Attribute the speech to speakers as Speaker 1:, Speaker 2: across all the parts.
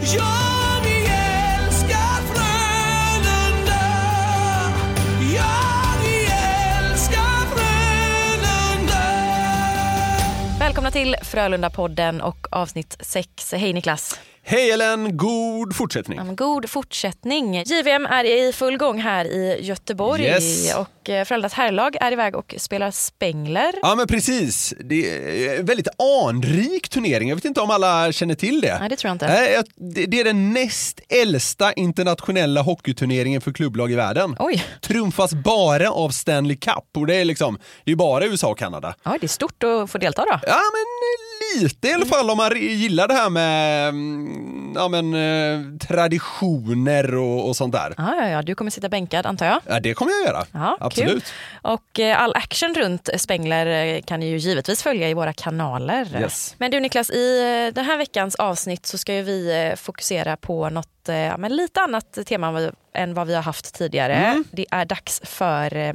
Speaker 1: Jag älskar Frölunda Jag älskar Frölunda
Speaker 2: Välkomna till Frölunda-podden och avsnitt 6. Hej Niklas!
Speaker 3: Hej Ellen, god fortsättning.
Speaker 2: Ja, men God fortsättning. JVM är i full gång här i Göteborg
Speaker 3: Yes.
Speaker 2: och eh, Frölundas herrlag är iväg och spelar Spengler.
Speaker 3: Ja men precis, det är en väldigt anrik turnering. Jag vet inte om alla känner till det.
Speaker 2: Nej, det tror jag inte.
Speaker 3: Nej, jag- det- det är den näst äldsta internationella hockeyturneringen för klubblag i världen.
Speaker 2: Oj.
Speaker 3: Trumfas bara av Stanley Cup och det är liksom, det är bara USA och Kanada.
Speaker 2: Ja, det är stort att få delta då.
Speaker 3: Ja men lite i alla fall om man re- gillar det här med mm, ja, men, eh, traditioner och, och sånt där.
Speaker 2: Ja, ja, ja. Du kommer sitta bänkad antar jag.
Speaker 3: Ja, det kommer jag göra.
Speaker 2: Ja,
Speaker 3: Absolut.
Speaker 2: Kul. Och eh, all action runt Spengler eh, kan ni ju givetvis följa i våra kanaler.
Speaker 3: Yes.
Speaker 2: Men du Niklas, i eh, den här veckans avsnitt så ska ju vi eh, fokusera på något eh, ja, men lite annat tema än vad vi- än vad vi har haft tidigare.
Speaker 3: Mm.
Speaker 2: Det är dags för eh,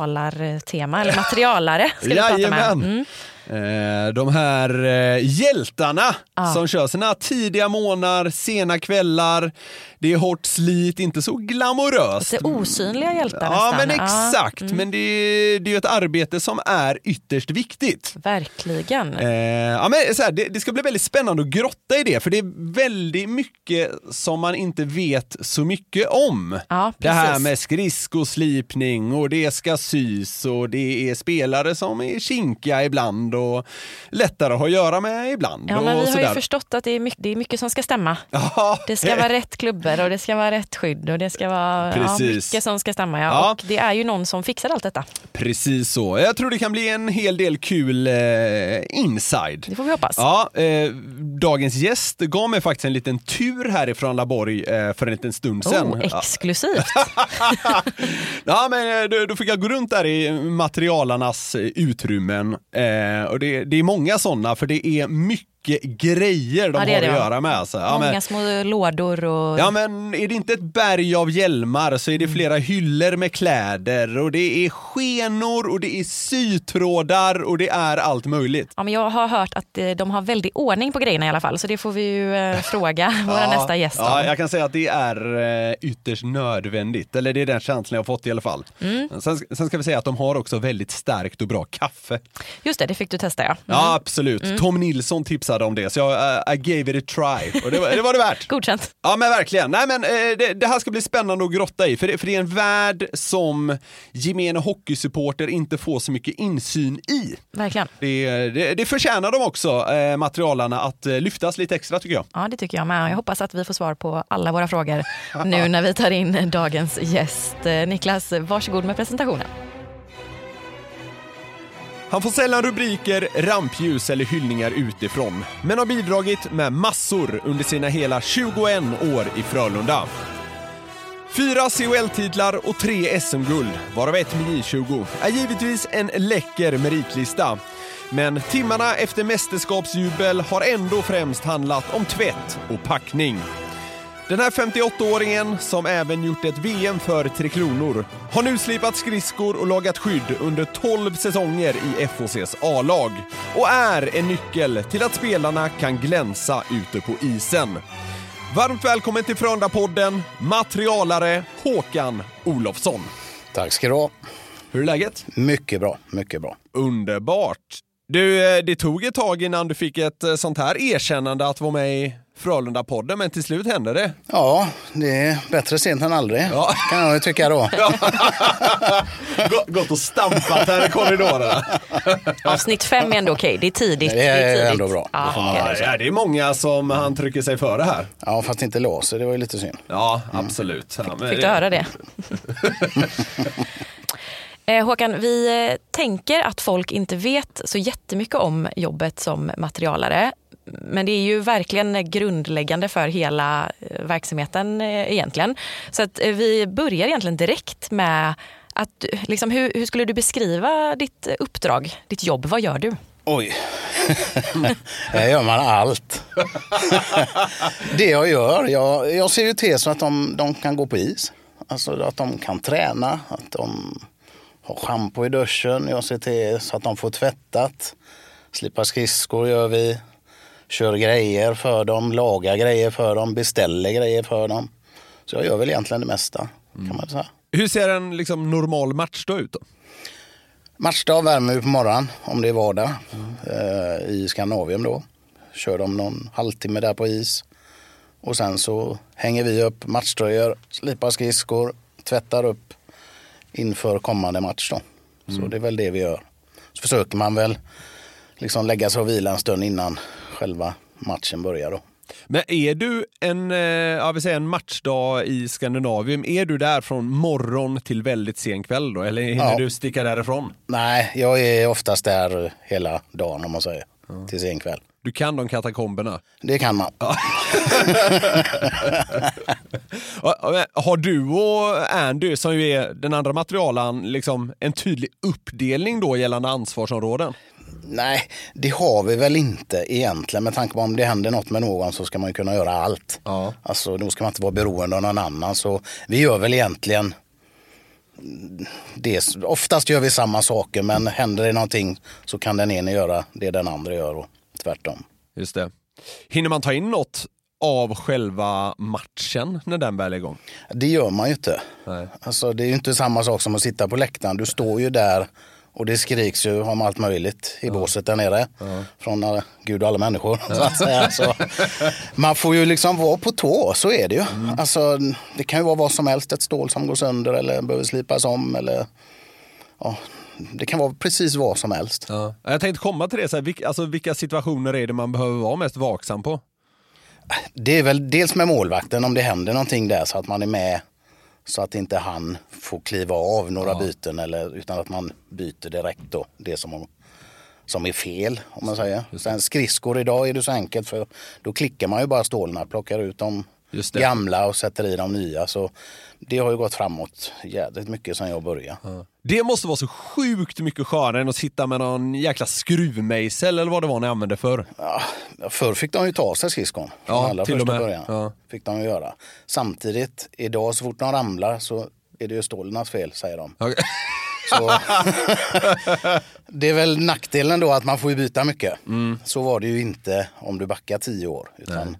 Speaker 2: materialartema, eller materialare ska vi prata med. Mm.
Speaker 3: Jajamän. Eh, De här eh, hjältarna som kör sina tidiga månader, sena kvällar, det är hårt slit, inte så glamoröst.
Speaker 2: Lite osynliga hjältar
Speaker 3: Ja
Speaker 2: nästan. Mm.
Speaker 3: men exakt, men det, det är ju ett arbete som är ytterst viktigt.
Speaker 2: Verkligen.
Speaker 3: Eh, ja, men så här, det, det ska bli väldigt spännande att grotta i det, för det är väldigt mycket som man inte vet så mycket om.
Speaker 2: Ja,
Speaker 3: det här
Speaker 2: precis.
Speaker 3: med skridskoslipning och det ska sys och det är spelare som är kinkiga ibland och lättare att ha att göra med ibland.
Speaker 2: Ja, men
Speaker 3: och
Speaker 2: vi har ju
Speaker 3: sådär.
Speaker 2: förstått att det är, mycket, det är mycket som ska stämma.
Speaker 3: Ja, eh.
Speaker 2: Det ska vara rätt klubbor och det ska vara rätt skydd och det ska vara ja,
Speaker 3: Precis.
Speaker 2: mycket som ska stämma. Ja.
Speaker 3: Ja.
Speaker 2: Och det är ju någon som fixar allt detta.
Speaker 3: precis så. Jag tror det kan bli en hel del kul eh, inside.
Speaker 2: Det får vi hoppas.
Speaker 3: Ja, eh, dagens gäst gav mig faktiskt en liten tur härifrån Laborg eh, för en liten stund sedan.
Speaker 2: Oh,
Speaker 3: Ja.
Speaker 2: exklusivt.
Speaker 3: Ja, men eh, då, då fick jag gå runt där i materialarnas eh, utrymmen. Eh, och det, det är många sådana, för det är mycket grejer de
Speaker 2: Ja, det
Speaker 3: har
Speaker 2: är
Speaker 3: att
Speaker 2: det, va?
Speaker 3: göra med. Alltså. Ja,
Speaker 2: Många
Speaker 3: men,
Speaker 2: små lådor och...
Speaker 3: ja, men är det inte ett berg av hjälmar så är
Speaker 2: Mm.
Speaker 3: det flera hyllor med kläder och det är skenor och det är sytrådar och det är allt möjligt.
Speaker 2: Ja, men jag har hört att eh, de har väldig ordning på grejerna i alla fall, så det får vi ju eh, fråga våra
Speaker 3: Ja,
Speaker 2: nästa gäst om.
Speaker 3: ja, jag kan säga att det är eh, ytterst nödvändigt, eller det är den känslan jag har fått i alla fall.
Speaker 2: Mm.
Speaker 3: Sen, sen ska vi säga att de har också väldigt starkt och bra kaffe.
Speaker 2: Just det, det fick du testa ja.
Speaker 3: Ja, absolut. Tom Nilsson tipsade om det, så jag eh, I gave it a try. Och det, var, det var det värt.
Speaker 2: Godkänt.
Speaker 3: Ja men verkligen. Nej, men, eh, det, det här ska bli spännande att grotta i, för det, för det är en värld som gemene hockeysupporter inte får så mycket insyn i.
Speaker 2: Verkligen.
Speaker 3: Det, det, det förtjänar de också, eh, materialarna, att eh, lyftas lite extra tycker jag.
Speaker 2: Ja, det tycker jag med. Jag hoppas att vi får svar på alla våra frågor nu när vi tar in dagens gäst. Eh, Niklas, varsågod med presentationen.
Speaker 3: Han får sällan rubriker, rampljus eller hyllningar utifrån, men har bidragit med massor under sina hela 21 år i Frölunda. Fyra CHL-titlar och tre SM-guld, varav ett med J20, är givetvis en läcker meritlista. Men timmarna efter mästerskapsjubel har ändå främst handlat om tvätt och packning. Den här 58-åringen, som även gjort ett VM för Tre Kronor, har nu slipat skridskor och lagat skydd under 12 säsonger i FHCs A-lag och är en nyckel till att spelarna kan glänsa ute på isen. Varmt välkommen till Frölunda-podden, materialare Håkan Olofsson.
Speaker 4: Tack ska du ha.
Speaker 3: Hur är läget?
Speaker 4: Mycket bra, mycket bra.
Speaker 3: Underbart. Du, eh, det tog ett tag innan du fick ett eh, sånt här erkännande att vara med i Frölunda-podden, men till slut hände det.
Speaker 4: Ja, det är bättre sent än aldrig,
Speaker 3: Ja.
Speaker 4: kan jag ju tycka då.
Speaker 3: Gå- Gått och stampat här i korridorerna.
Speaker 2: Avsnitt fem är ändå okej, det är tidigt.
Speaker 4: Det är
Speaker 2: tidigt.
Speaker 4: ändå bra. Det
Speaker 2: Ja.
Speaker 4: får man
Speaker 3: Ja,
Speaker 4: väl
Speaker 3: det
Speaker 4: säga.
Speaker 3: är- det är många som han trycker sig före här.
Speaker 4: Ja, fast inte Laser, det var ju lite synd.
Speaker 3: Ja, absolut. Ja, men
Speaker 2: Fick du
Speaker 3: det-
Speaker 2: höra det? Eh, Håkan, vi eh, tänker att folk inte vet så jättemycket om jobbet som materialare. Men det är ju verkligen grundläggande för hela eh, verksamheten eh, egentligen. Så att eh, vi börjar egentligen direkt med att, du- liksom, hur, hur skulle du beskriva ditt eh, uppdrag, ditt jobb? Vad gör du?
Speaker 4: Oj, här gör man allt. det jag gör, jag, jag ser ju till så att de, de kan gå på is. Alltså att de kan träna, att de har schampo i duschen. Jag ser till så att de får tvättat. Slipa skridskor gör vi. Kör grejer för dem, lagar grejer för dem, beställer grejer för dem. Så jag gör väl egentligen det mesta, kan man säga.
Speaker 3: Hur ser en liksom, normal match då ut? Då?
Speaker 4: Matchdag värmer vi på morgonen om det är vardag eh, i Skandinavien då. Kör de någon halvtimme där på is. Och sen så hänger vi upp matchtröjor, slipar skridskor, tvättar upp inför kommande match då. Så det är väl det vi gör. Så försöker man väl liksom lägga sig och vila en stund innan själva matchen börjar då.
Speaker 3: Men är du en, eh, ja, vi säger en matchdag i Skandinavien, är du där från morgon till väldigt sen kväll då? Eller hinner
Speaker 4: Ja.
Speaker 3: du sticka därifrån?
Speaker 4: Nej, jag är oftast där hela dagen om man säger. Till sen kväll.
Speaker 3: Du kan de katakomberna.
Speaker 4: Det kan man.
Speaker 3: Ja, ja, men Har du och Andy, som ju är den andra materialan, liksom en tydlig uppdelning då gällande ansvarsområden?
Speaker 4: Nej, det har vi väl inte egentligen. Med tanke på om det händer något med någon så ska man ju kunna göra allt.
Speaker 3: Ja.
Speaker 4: Alltså, då ska man inte vara beroende av någon annan. Så vi gör väl egentligen det. Oftast gör vi samma saker men händer det någonting så kan den ene göra det den andra gör och tvärtom.
Speaker 3: Just det. Hinner man ta in något av själva matchen när den väl är igång?
Speaker 4: Det gör man ju inte.
Speaker 3: Nej.
Speaker 4: Alltså, det är ju inte samma sak som att sitta på läktaren. Du står ju där och det skriks ju om allt möjligt i båset där nere. Från alla, Gud och alla människor. Så att säga. Så, man får ju liksom vara på tå, så är det ju. Alltså, det kan ju vara vad som helst, ett stål som går sönder eller behöver slipas om. Eller, ja, det kan vara precis vad som helst.
Speaker 3: Ja. Jag tänkte komma till det, så här, vilk, alltså, vilka situationer är det man behöver vara mest vaksam på?
Speaker 4: Det är väl dels med målvakten om det händer någonting där så att man är med så att inte han får kliva av några byten eller, utan att man byter direkt då det som, som är fel om man säger. Sen skridskor idag är det så enkelt för då klickar man ju bara stålarna, plockar ut de
Speaker 3: Just det.
Speaker 4: gamla och sätter i de nya. Så det har ju gått framåt jävligt mycket sedan jag började.
Speaker 3: Det måste vara så sjukt mycket skönare än att sitta med någon jäkla skruvmejsel eller vad det var ni använde förr.
Speaker 4: Förr fick de ju ta sig skridskon. från
Speaker 3: Ja,
Speaker 4: allra
Speaker 3: till och
Speaker 4: första
Speaker 3: med.
Speaker 4: början.
Speaker 3: Ja.
Speaker 4: Fick de ju göra. Samtidigt, idag så fort de ramlar så är det ju stålarnas fel, säger de.
Speaker 3: Okej.
Speaker 4: Så, det är väl nackdelen då att man får ju byta mycket.
Speaker 3: Mm.
Speaker 4: Så var det ju inte om du backar tio år. Utan,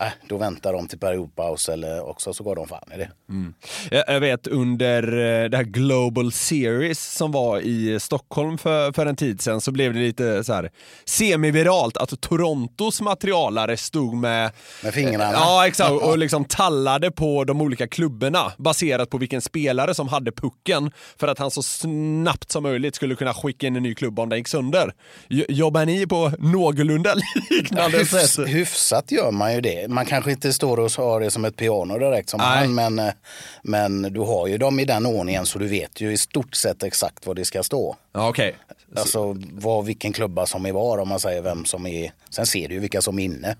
Speaker 4: äh, då väntar de till periodpaus eller också så går de fan i det.
Speaker 3: Mm. Jag, jag vet under eh, det här Global Series som var i Stockholm för, för en tid sedan så blev det lite så här semiviralt att Torontos materialare stod med
Speaker 4: Med fingrarna.
Speaker 3: Eh, Ja, exakt. Och liksom tallade på de olika klubborna baserat på vilken spelare som hade pucken för att han så snabbt som möjligt skulle kunna skicka in en ny klubba om den gick sönder. J- Jobbar ni på någorlunda liknande
Speaker 4: Hyfs,
Speaker 3: sätt?
Speaker 4: hyfsat gör man ju det. Man kanske inte står och har det som ett piano direkt som
Speaker 3: Nej.
Speaker 4: han, men, eh, men du har ju dem i den ordningen så du vet ju i stort sett exakt vad det ska stå.
Speaker 3: Ja, okej. Mm.
Speaker 4: Alltså vad, vilken klubba som är var om man säger vem som är. Sen ser du ju vilka som är inne.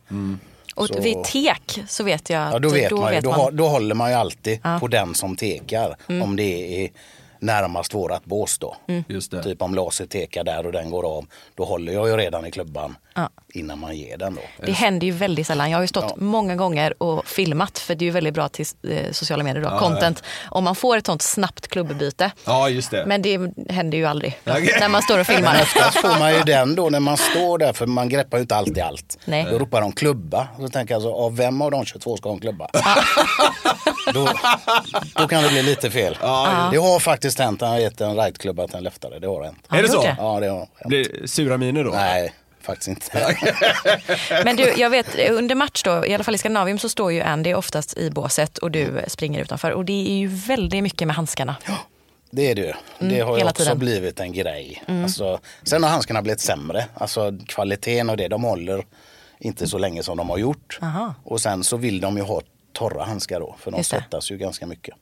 Speaker 2: Och
Speaker 4: Så-
Speaker 2: vid tek så vet jag att
Speaker 4: Ja, då vet man, ju. då,
Speaker 2: man-
Speaker 4: hå- då håller man ju alltid på den som tekar om det är närmast vårat bås då.
Speaker 3: Just det.
Speaker 4: Typ om låset tekar där och den går av, då håller jag ju redan i klubban innan man ger den då.
Speaker 3: Eh,
Speaker 2: Det händer ju väldigt sällan. Jag har ju stått många gånger och filmat, för det är ju väldigt bra till eh, sociala medier, då, content, om man får ett sånt snabbt klubbyte.
Speaker 3: Ja, just det.
Speaker 2: Men det händer ju aldrig
Speaker 3: Okej.
Speaker 2: när man står och filmar.
Speaker 4: Oftast får man ju den då när man står där, för man greppar ju inte alltid allt.
Speaker 2: Nej.
Speaker 4: Då ropar de klubba. Så tänker jag, så, av vem av de 22 ska ha en klubba? då, då kan det bli lite fel. Det har faktiskt hänt, han har gett en right-klubba till en leftare. Det har hänt.
Speaker 2: Ja,
Speaker 3: Är det
Speaker 2: jag
Speaker 3: så?
Speaker 2: gjorde det.
Speaker 4: Ja, det har hänt.
Speaker 3: Blir sura miner då?
Speaker 4: Nej, faktiskt inte.
Speaker 2: Men du, jag vet eh, under match då, i alla fall i Skandinavium så står ju Andy oftast i båset och
Speaker 3: Mm.
Speaker 2: du springer utanför. Och det är ju väldigt mycket med handskarna.
Speaker 4: Det är det ju. Det har ju
Speaker 2: Mm, hela
Speaker 4: också
Speaker 2: tiden. Mm.
Speaker 4: blivit en grej. Alltså, sen har handskarna blivit sämre. Alltså kvaliteten och det de håller inte så länge som de har gjort.
Speaker 2: Aha.
Speaker 4: Och sen så vill de ju ha torra handskar då. För de
Speaker 2: Just det.
Speaker 4: svettas ju ganska mycket.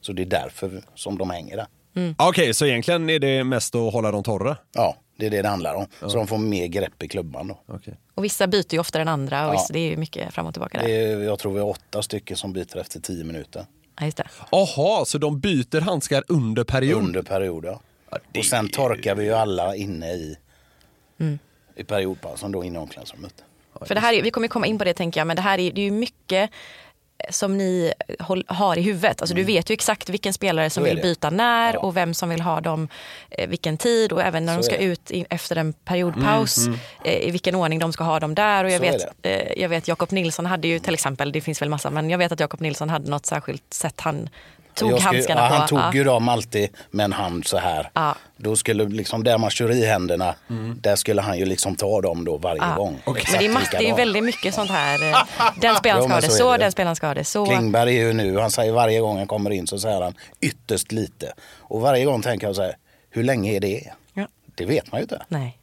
Speaker 4: Så det är därför som de hänger där.
Speaker 3: Mm. Okej, så egentligen är det mest att hålla dem torra?
Speaker 4: Ja, det är det det handlar om. Så de får mer grepp i klubban då.
Speaker 3: Okej.
Speaker 2: Och vissa byter ju oftare än andra och
Speaker 4: Ja.
Speaker 2: vissa, det är ju mycket fram och tillbaka där.
Speaker 4: Det är, jag tror vi har åtta stycken som byter efter tio minuter.
Speaker 2: Ja, just det.
Speaker 3: Jaha, så de byter handskar under period?
Speaker 4: Under perioder.
Speaker 3: det
Speaker 4: Och sen torkar vi ju alla inne i,
Speaker 2: Mm.
Speaker 4: i periodpausen då inne i omklädningsrummet.
Speaker 2: För det här, är- vi kommer komma in på det tänker jag, men det här är, det är ju mycket eh, som ni håll, har i huvudet. Alltså, Du vet ju exakt vilken spelare som
Speaker 4: Mm. Så är
Speaker 2: vill
Speaker 4: det.
Speaker 2: byta när
Speaker 4: Ja.
Speaker 2: och vem som vill ha dem eh, vilken tid och även när de
Speaker 4: Så
Speaker 2: ska
Speaker 4: är det. Mm,
Speaker 2: ut i, efter en periodpaus eh, i vilken ordning de ska ha dem där. Och jag
Speaker 4: Så
Speaker 2: vet,
Speaker 4: är
Speaker 2: eh, jag vet Jakob Nilsson hade ju till exempel, det finns väl massa, men jag vet att Jakob Nilsson hade något särskilt sätt han tog
Speaker 4: Jag skulle-
Speaker 2: handskarna
Speaker 4: ja,
Speaker 2: på.
Speaker 4: Han tog
Speaker 2: Ja.
Speaker 4: ju dem alltid med en hand så här.
Speaker 2: Ja.
Speaker 4: Då skulle liksom där man kör i händerna, där skulle han ju liksom ta dem då varje
Speaker 2: Ja.
Speaker 4: gång.
Speaker 2: Men det är,
Speaker 4: Exakt
Speaker 2: mass- det är
Speaker 4: likadant.
Speaker 2: väldigt mycket sånt här. eh, Den spelaren ska
Speaker 4: Jo, men
Speaker 2: ha det
Speaker 4: så är
Speaker 2: så,
Speaker 4: det.
Speaker 2: den spelaren ska ha det så.
Speaker 4: Klingberg är ju nu, han säger varje gång han kommer in så säger han ytterst lite. Och varje gång tänker jag så här, hur länge är det?
Speaker 2: Ja.
Speaker 4: Det vet man ju inte.
Speaker 2: Nej.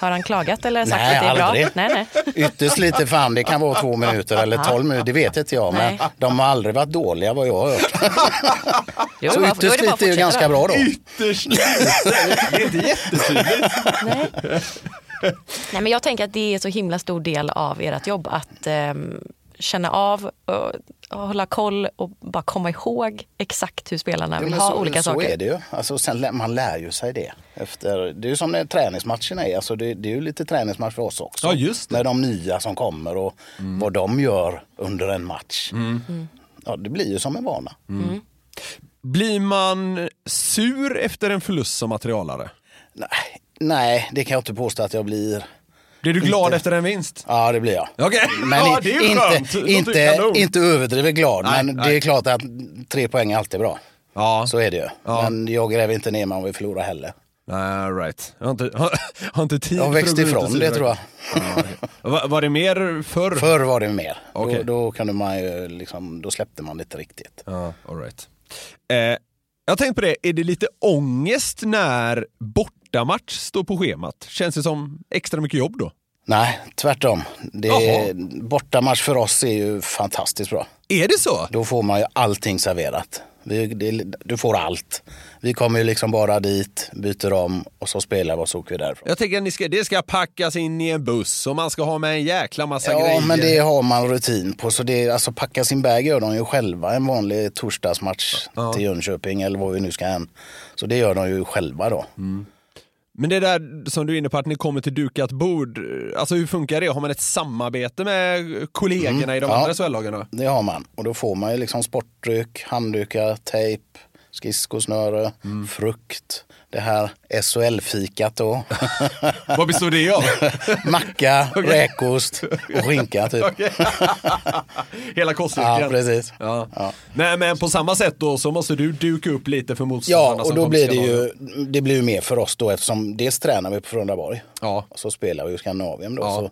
Speaker 2: Har han klagat eller sagt
Speaker 4: Nej,
Speaker 2: att det är
Speaker 4: aldrig.
Speaker 2: bra? Nej, nej.
Speaker 4: Ytterst lite fan, det kan vara två minuter eller tolv minuter, det vet inte jag. Men
Speaker 2: Nej.
Speaker 4: de har aldrig varit dåliga vad jag har hört.
Speaker 2: Jo,
Speaker 4: Så
Speaker 2: bara- då
Speaker 4: ytterst
Speaker 2: bara att
Speaker 4: lite är ju
Speaker 2: fortsätta då.
Speaker 4: ganska bra då.
Speaker 3: Ytterst lite! Det är inte jättetydligt.
Speaker 2: Nej. nej, men jag tänker att det är så himla stor del av ert jobb att ehm, känna av, och, och hålla koll och bara komma ihåg exakt hur spelarna
Speaker 4: Jo,
Speaker 2: vill
Speaker 4: men
Speaker 2: ha
Speaker 4: så,
Speaker 2: olika
Speaker 4: så
Speaker 2: saker.
Speaker 4: är det ju. Alltså, sen, lä- man lär ju sig det. Efter, det är ju som när träningsmatcherna är. Alltså, det, det är ju lite träningsmatch för oss också.
Speaker 3: Ja, just det. Mm.
Speaker 4: Med de nya som kommer och vad de gör under en match. Ja, det blir ju som en vana.
Speaker 3: Blir man sur efter en förlust som materialare?
Speaker 4: Nej, nej, det kan jag inte påstå att jag blir.
Speaker 3: Blir du glad efter en vinst?
Speaker 4: Ja, det blir jag.
Speaker 3: Okej,
Speaker 4: Men
Speaker 3: ja,
Speaker 4: i-
Speaker 3: det är ju skönt.
Speaker 4: inte,
Speaker 3: Låter ju
Speaker 4: inte,
Speaker 3: kanon.
Speaker 4: inte överdrivet glad,
Speaker 3: Nej,
Speaker 4: men det
Speaker 3: nej.
Speaker 4: är klart att tre poäng är alltid bra.
Speaker 3: Ja.
Speaker 4: Så är det ju.
Speaker 3: Ja.
Speaker 4: Men jag gräver inte ner mig om vi förlorar heller.
Speaker 3: Nej, Ah, right. Jag har inte, har inte tid
Speaker 4: Jag har
Speaker 3: för att
Speaker 4: växt
Speaker 3: gå runt och
Speaker 4: ifrån
Speaker 3: sura.
Speaker 4: det tror jag.
Speaker 3: Ja, okej. Va- Var det mer förr?
Speaker 4: Förr var det mer.
Speaker 3: Okej.
Speaker 4: Då, då, kunde man ju liksom, då släppte man inte riktigt.
Speaker 3: Ja, Ah, all right. eh, jag tänkte på det, är det lite ångest när bortamatch står på schemat? Känns det som extra mycket jobb då?
Speaker 4: Nej, tvärtom. Det
Speaker 3: Jaha.
Speaker 4: är, bortamatch för oss är ju fantastiskt bra.
Speaker 3: Är det så?
Speaker 4: Då får man ju allting serverat. Vi, det, du får allt. Vi kommer ju liksom bara dit, byter om och så spelar vi och så åker vi därifrån.
Speaker 3: Jag tänker att ni ska, det ska packas in i en buss och man ska ha med en jäkla massa
Speaker 4: Ja,
Speaker 3: grejer.
Speaker 4: men det har man rutin på. Så det, alltså, packa sin bag gör de ju själva en vanlig torsdagsmatch till Jönköping eller vad vi nu ska än. Så det gör de ju själva då.
Speaker 3: Men det där som du är inne på att ni kommer till dukat bord, alltså hur funkar det? Har man ett samarbete med kollegorna i de
Speaker 4: Mm, Ja.
Speaker 3: andra SHL-lagen? då?
Speaker 4: Det har man. Och då får man ju liksom sportdryck, handdukar, tejp, skridskosnöre,
Speaker 3: Mm.
Speaker 4: frukt. Det här SHL-fikat då.
Speaker 3: Vad består det av?
Speaker 4: Macka, räkost och skinka typ.
Speaker 3: Hela
Speaker 4: Ja,
Speaker 3: kostcykeln?
Speaker 4: precis.
Speaker 3: Ja. Nej, men på samma sätt då så måste du duka upp lite för motståndarna.
Speaker 4: Ja, och
Speaker 3: som
Speaker 4: då
Speaker 3: kommer
Speaker 4: blir det
Speaker 3: till
Speaker 4: ju,
Speaker 3: Skandinavien.
Speaker 4: det blir ju mer för oss då eftersom dels tränar vi på Frölundaborg
Speaker 3: Ja.
Speaker 4: och så spelar vi i Skandinavien då.
Speaker 3: Ja.
Speaker 4: Så,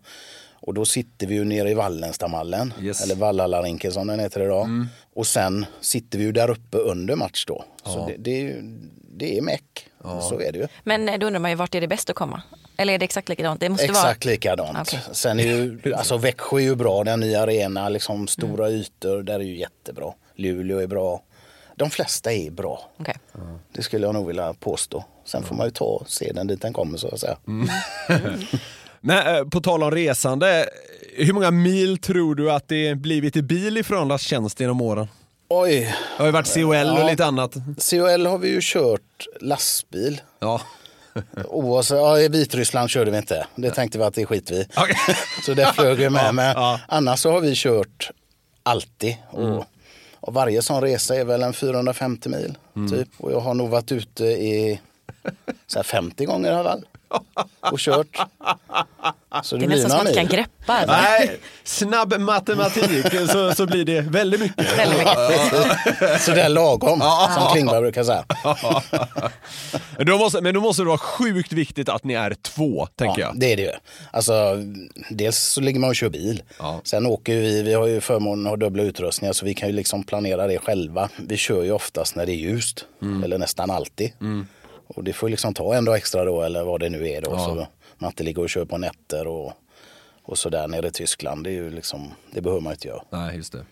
Speaker 4: och då sitter vi ju nere i Wallenstamhallen,
Speaker 3: Yes. Mm.
Speaker 4: eller Vallalarinken som den heter idag. Och sen sitter vi ju där uppe under match då. Så det, det, är ju, det är meck, så är det ju.
Speaker 2: Men eh, då undrar man ju vart är det bäst att komma? Eller är det exakt likadant? Det måste
Speaker 4: Exakt
Speaker 2: vara...
Speaker 4: likadant.
Speaker 2: Okej.
Speaker 4: Sen är ju, alltså Växjö är ju bra, den nya arena, liksom stora
Speaker 2: Mm.
Speaker 4: ytor, där är ju jättebra. Luleå är bra. De flesta är bra.
Speaker 2: Okej.
Speaker 4: Det skulle jag nog vilja påstå. Sen får man ju ta och se den dit den kommer så att säga.
Speaker 3: Men eh, på tal om resande, Hur många mil tror du att det blivit i bil ifrån Lars Tjänst genom åren?
Speaker 4: Oj,
Speaker 3: Det har ju varit COL och
Speaker 4: Ja.
Speaker 3: lite annat.
Speaker 4: COL har vi ju kört lastbil.
Speaker 3: Ja.
Speaker 4: Oavsett, ja, I Vitryssland körde vi inte. Det tänkte vi att det skiter vi i.
Speaker 3: Okej.
Speaker 4: Så det flög vi med.
Speaker 3: Ja,
Speaker 4: men
Speaker 3: ja. Mm.
Speaker 4: annars så har vi kört alltid. Och, och varje sån resa är väl en 450 mil.
Speaker 3: Mm.
Speaker 4: Typ. Och jag har nog varit ute i så här 50 gånger i alla fall. Och kört. Så det,
Speaker 2: Det är
Speaker 4: blir
Speaker 2: nästan som att
Speaker 4: några
Speaker 2: man
Speaker 4: mil.
Speaker 2: kan greppa. va?
Speaker 3: Nej, snabb matematik så, så blir det väldigt mycket.
Speaker 2: Väldigt mycket.
Speaker 4: så det är lagom, som Klingberg brukar säga.
Speaker 3: Då måste, men då måste det vara sjukt viktigt att ni är två, tänker
Speaker 4: Ja,
Speaker 3: jag.
Speaker 4: det är det ju. Alltså, dels så ligger man och kör bil.
Speaker 3: Ja.
Speaker 4: Sen åker ju vi, vi har ju förmånen att ha dubbla utrustningar så vi kan ju liksom planera det själva. Vi kör ju oftast när det är ljust,
Speaker 3: Mm.
Speaker 4: eller nästan alltid. Och det får ju liksom ta en dag extra då eller vad det nu är då. Så man inte ligger och kör på nätter och, och sådär nere i Tyskland. Det, är ju liksom, det behöver man ju inte göra.
Speaker 3: Nej, just det.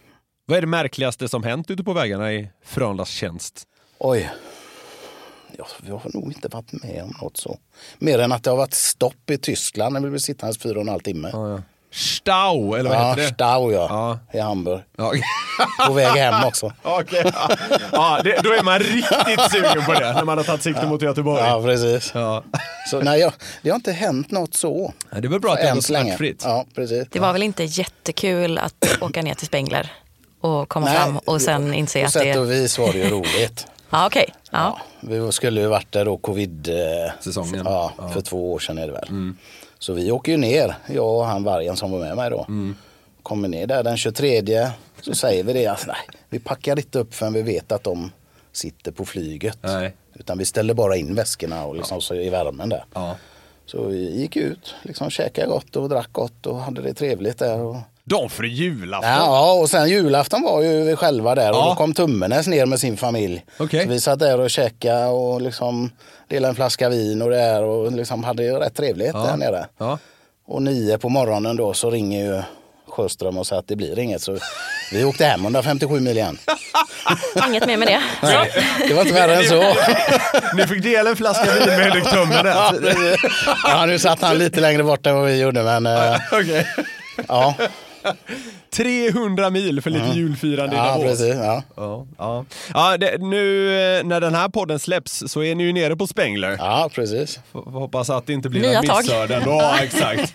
Speaker 3: Vad är det märkligaste som hänt ute på vägarna i Frölundas tjänst?
Speaker 4: Oj. Ja, jag har nog inte varit med om något så. Mer än att det har varit stopp i Tyskland när vi blev sittandes fyra och en halv timme.
Speaker 3: Stau, eller vad
Speaker 4: Ja,
Speaker 3: heter det?
Speaker 4: Stau ja,
Speaker 3: Ja.
Speaker 4: i Hamburg.
Speaker 3: Ja.
Speaker 4: På väg hem också.
Speaker 3: Okej. Ja, det, då är man riktigt sugen på det, när man har tagit sikte mot Göteborg.
Speaker 4: Ja,
Speaker 3: Ja.
Speaker 4: precis. Så, nej, jag, det har inte hänt något så.
Speaker 3: Det är väl bra att det
Speaker 4: Än
Speaker 3: är
Speaker 4: så länge.
Speaker 3: smärtfritt.
Speaker 4: Ja, precis.
Speaker 2: Det var väl inte jättekul att åka ner till Spengler och komma
Speaker 4: Nej,
Speaker 2: fram och sen inse
Speaker 4: På
Speaker 2: att det
Speaker 4: sätt
Speaker 2: är...
Speaker 4: och vis var det ju roligt.
Speaker 2: Ja, okej. Ja.
Speaker 4: Vi skulle ju varit där då covid... eh,
Speaker 3: Säsongen. Mm.
Speaker 4: Ja, för två år sedan är det väl. Så vi åker ju ner, jag och han vargen som var med mig då.
Speaker 3: Mm.
Speaker 4: Kommer ner där den 23, så säger vi det att nej, vi packar inte upp förrän vi vet att de sitter på flyget.
Speaker 3: Nej.
Speaker 4: Utan vi ställer bara in väskorna och liksom så i värmen där.
Speaker 3: Ja.
Speaker 4: Så vi gick ut, liksom käkade gott och drack gott och hade det trevligt där. Och...
Speaker 3: De för julafton.
Speaker 4: Ja, ja, och sen julafton var ju vi själva där och
Speaker 3: Ja.
Speaker 4: då kom Tummenäs ner med sin familj.
Speaker 3: Okej.
Speaker 4: Så vi satt där och käkade och liksom delade en flaska vin och det där och liksom hade ju rätt trevligt där nere.
Speaker 3: Ja.
Speaker 4: Och nio på morgonen då så ringer ju Sjöström och säger att det blir inget. Så vi åkte hem 157 mil igen.
Speaker 2: Inget mer med det. Så.
Speaker 4: Det var inte värre än så.
Speaker 3: Ni fick dela en flaska vin med Henrik Tömmernes.
Speaker 4: Ja, nu satt han lite längre bort än vad vi gjorde men eh,
Speaker 3: Okej.
Speaker 4: ja.
Speaker 3: 300 mil för lite julfirande i
Speaker 4: Ja,
Speaker 3: Davos.
Speaker 4: precis. Ja.
Speaker 3: Ja, ja. ja det, nu eh, när den här podden släpps så är ni ju nere på Spengler.
Speaker 4: ja, precis.
Speaker 3: F- hoppas att det inte blir
Speaker 2: Nya
Speaker 3: några
Speaker 2: tag.
Speaker 3: missöden. Ja, exakt.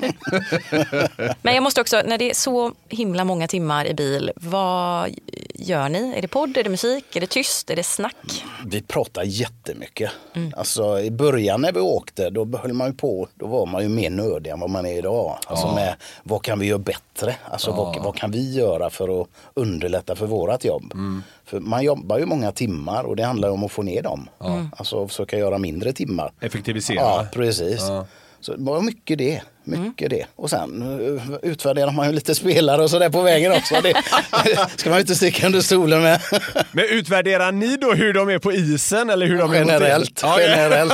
Speaker 2: Men jag måste också, när det är så himla många timmar i bil, vad gör ni? Är det podd, är det musik, är det tyst, är det snack?
Speaker 4: Vi pratar jättemycket.
Speaker 3: Mm.
Speaker 4: Alltså, I början när vi åkte, då höll man ju på, då var man ju mer nördig än vad man är idag. Alltså med, vad kan vi göra bättre? Alltså vad, vad kan vi göra för att underlätta för vårat jobb?
Speaker 3: Mm.
Speaker 4: För man jobbar ju många timmar och det handlar ju om att få ner dem.
Speaker 3: Mm.
Speaker 4: Alltså försöka göra mindre timmar.
Speaker 3: Effektivisera.
Speaker 4: Ja, precis. Så det var mycket det.
Speaker 3: Mm.
Speaker 4: Mycket det. Och sen eh, utvärderar man ju lite spelare och sådär på vägen också. Det ska man ju inte sticka under stolen med.
Speaker 3: Men utvärderar ni då hur de är på isen eller hur de är mot er?
Speaker 4: Generellt.
Speaker 3: Ja, ja.
Speaker 4: generellt.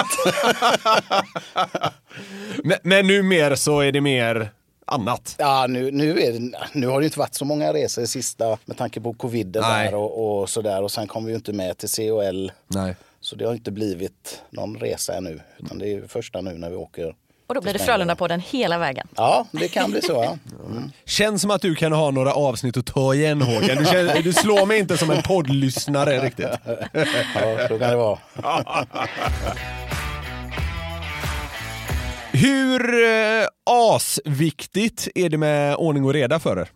Speaker 3: Men, men nu mer så är det mer annat.
Speaker 4: Ja, nu, nu, är det, nu har det ju inte varit så många resor i sista med tanke på covid
Speaker 3: Nej.
Speaker 4: där och, och sådär. Och sen kom vi ju inte med till COL.
Speaker 3: Nej.
Speaker 4: Så det har inte blivit någon resa ännu. Utan det är ju första nu när vi åker.
Speaker 2: Och då blir det Frölunda-podden hela vägen.
Speaker 4: Ja, det kan bli så. Ja.
Speaker 3: Känns som att du kan ha några avsnitt att ta igen Håkan. Du, känner, du slår mig inte som en poddlyssnare riktigt.
Speaker 4: ja, så kan det vara.
Speaker 3: Hur eh, asviktigt är det med ordning och reda för er?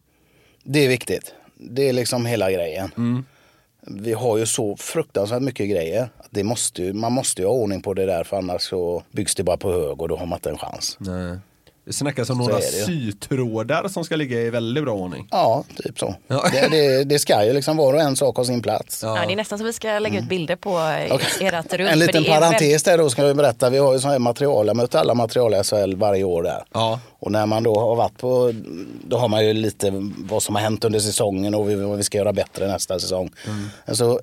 Speaker 4: Det är viktigt. Det är liksom hela grejen.
Speaker 3: Mm.
Speaker 4: Vi har ju så fruktansvärt mycket grejer. Det måste ju, man måste ju ha ordning på det där för annars så byggs det bara på hög och då har man inte en chans.
Speaker 3: Det snackas om
Speaker 4: Så
Speaker 3: några
Speaker 4: är det ju.
Speaker 3: sytrådar som ska ligga i väldigt bra ordning.
Speaker 4: Ja, typ så.
Speaker 3: Ja.
Speaker 4: Det, det, det ska ju liksom vara och en sak ha sin plats.
Speaker 2: Ja. det är nästan som vi ska lägga ut bilder på eh,
Speaker 4: Okej.
Speaker 2: ert rum.
Speaker 4: En
Speaker 2: för
Speaker 4: liten
Speaker 2: det är väldigt-
Speaker 4: parentes där då ska vi berätta. Vi har ju sådana här material, jag möter alla material i SHL varje år där.
Speaker 3: Ja.
Speaker 4: Och när man då har varit på, då har man ju lite vad som har hänt under säsongen och vi- vad vi ska göra bättre nästa säsong. Men Så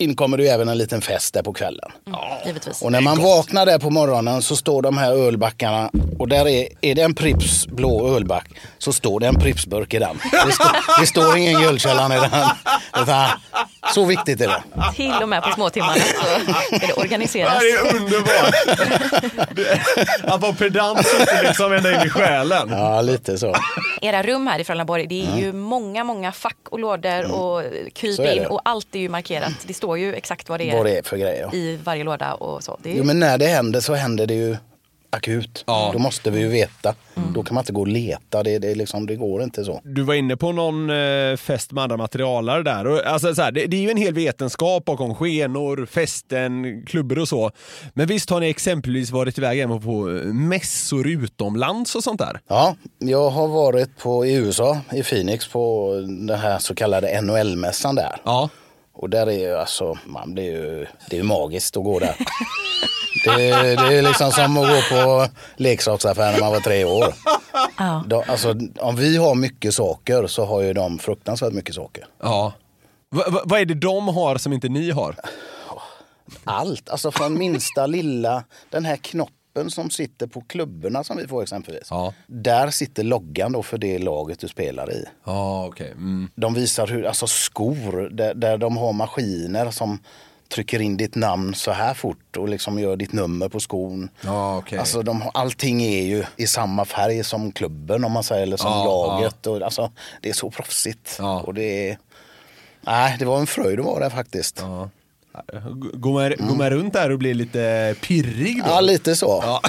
Speaker 4: inkommer det ju även en liten fest där på kvällen.
Speaker 2: Mm. Givetvis.
Speaker 4: Och när man vaknar där på morgonen så står de här ölbackarna och där är, är det en Pripps blå ölback så står det en Pripsburk i den. Det, står- det står ingen guldkällan i den. Utan Så viktigt är det.
Speaker 2: Till och med på småtimmarna så är det
Speaker 3: Det
Speaker 2: organiseras.
Speaker 3: här är underbart! Det- Att vara pedant sitter liksom ända in i själen.
Speaker 4: Ja, lite så.
Speaker 2: Era rum här i Frölundaborg, det är ju många, många fack och lådor och kryp
Speaker 4: Mm. Så är
Speaker 2: in
Speaker 4: det.
Speaker 2: och allt är ju markerat. Det står ju exakt vad det är,
Speaker 4: Vad det är för grejer.
Speaker 2: i varje låda och så. Det är ju
Speaker 4: Jo, men när det händer så händer det ju akut. Då måste vi ju veta. Då kan man inte gå och leta. Det, det, är liksom, det går inte så.
Speaker 3: Du var inne på någon eh, fest med andra materialare där. Och, alltså, så här, det, det är ju en hel vetenskap bakom skenor, festen, klubbor och så. Men visst har ni exempelvis varit iväg även på eh, mässor utomlands och sånt där?
Speaker 4: Ja, jag har varit på, i USA, i Phoenix, på den här så kallade NHL-mässan där.
Speaker 3: Ja.
Speaker 4: Och där är ju alltså, man, det är ju, det är ju magiskt att gå där. Det, det är liksom som att gå på leksaksaffär när man var tre år. De, alltså, om vi har mycket saker så har ju de fruktansvärt mycket saker.
Speaker 3: ja. Va, va, vad är det de har som inte ni har?
Speaker 4: Allt, alltså från minsta lilla, den här knoppen som sitter på klubborna som vi får exempelvis.
Speaker 3: Ja.
Speaker 4: Där sitter loggan då för det laget du spelar i.
Speaker 3: Ja, okej. Mm.
Speaker 4: De visar hur, alltså skor där, där de har maskiner som trycker in ditt namn så här fort och liksom gör ditt nummer på skon.
Speaker 3: Ja, okej.
Speaker 4: Alltså de, har- allting är ju i samma färg som klubben om man säger, eller som
Speaker 3: Ja,
Speaker 4: laget. Och, alltså, det är så proffsigt.
Speaker 3: Ja.
Speaker 4: Och det är... Nej, det var en fröjd att vara där faktiskt. Ja,
Speaker 3: G- Går man, går man runt där och blir lite pirrig då?
Speaker 4: lite så.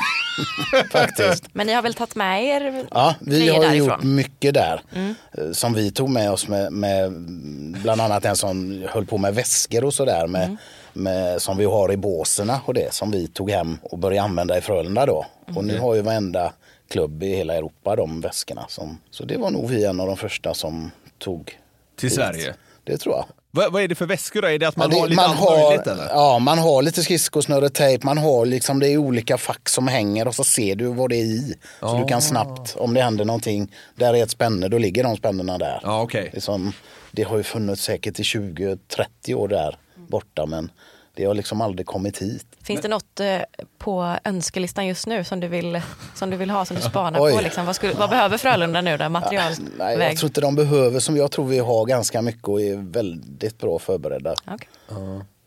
Speaker 4: faktiskt.
Speaker 2: Men ni har väl tagit med er
Speaker 4: Ja, vi
Speaker 2: grejer
Speaker 4: har ju
Speaker 2: därifrån?
Speaker 4: gjort mycket där. eh, Som vi tog med oss med, med bland annat en som höll på med väskor och sådär. Med, med, som vi har i båserna och det som vi tog hem och började använda i Frölunda då. Och
Speaker 3: Mm.
Speaker 4: nu har ju varenda klubb i hela Europa de väskorna. Som, så det var nog vi en av de första som tog.
Speaker 3: Till
Speaker 4: hit.
Speaker 3: Sverige?
Speaker 4: Det tror jag.
Speaker 3: Vad, vad är det för väskor då? Är det att man
Speaker 4: Ja, det-
Speaker 3: har lite allt möjligt eller?
Speaker 4: Ja, man har lite skridskosnöre, tejp, man har liksom, det är olika fack som hänger och så ser du vad det är i. Så du
Speaker 3: Ah.
Speaker 4: kan snabbt, om det händer någonting, där är ett spänne, då ligger de spännena där.
Speaker 3: Ja, okej.
Speaker 4: liksom, det har ju funnits säkert i 20-30 år där borta, men det har liksom aldrig kommit hit.
Speaker 2: Finns det något eh, på önskelistan just nu som du vill, som du vill ha, som du spanar
Speaker 4: Oj. Ah,
Speaker 2: på? Liksom? Vad, skulle, vad behöver Frölunda nu då? Materialväg?
Speaker 4: Nej, jag tror inte de behöver, som jag tror vi har ganska mycket och är väldigt bra förberedda
Speaker 2: Okej.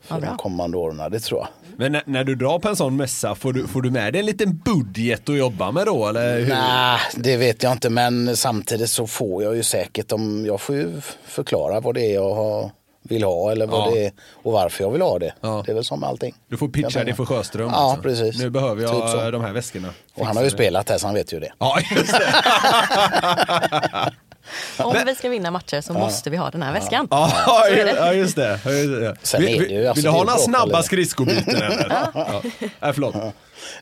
Speaker 4: för
Speaker 2: bra.
Speaker 4: de kommande åren, det tror jag.
Speaker 3: Men när, när du drar på en sån mässa, får du, får du med dig en liten budget att jobba med då? Eller hur?
Speaker 4: Nej, det vet jag inte. Men samtidigt så får jag ju säkert om jag får ju förklara vad det är jag har, vill ha eller vad
Speaker 3: Ja.
Speaker 4: det är, och varför jag vill ha det.
Speaker 3: Ja.
Speaker 4: Det är väl som med allting.
Speaker 3: Du får
Speaker 4: Jag
Speaker 3: pitcha
Speaker 4: tänker.
Speaker 3: din för Sjöström.
Speaker 4: Ja,
Speaker 3: alltså.
Speaker 4: precis.
Speaker 3: Nu behöver jag
Speaker 4: Typ så.
Speaker 3: de här väskorna.
Speaker 4: Och han har ju spelat här så han vet ju det.
Speaker 3: Ja, just det.
Speaker 2: Om vi ska vinna matcher
Speaker 4: Ah.
Speaker 2: så måste vi ha den här väskan.
Speaker 3: Ja, ju- ja, just det. Ja, just det.
Speaker 4: Sen
Speaker 3: Vill-
Speaker 4: är det
Speaker 3: vill- vill du
Speaker 4: ju- alltså, det är
Speaker 3: ha
Speaker 4: ju
Speaker 3: några
Speaker 4: bra,
Speaker 3: snabba
Speaker 4: eller?
Speaker 3: skridskobyten eller? Ja. Nej, förlåt.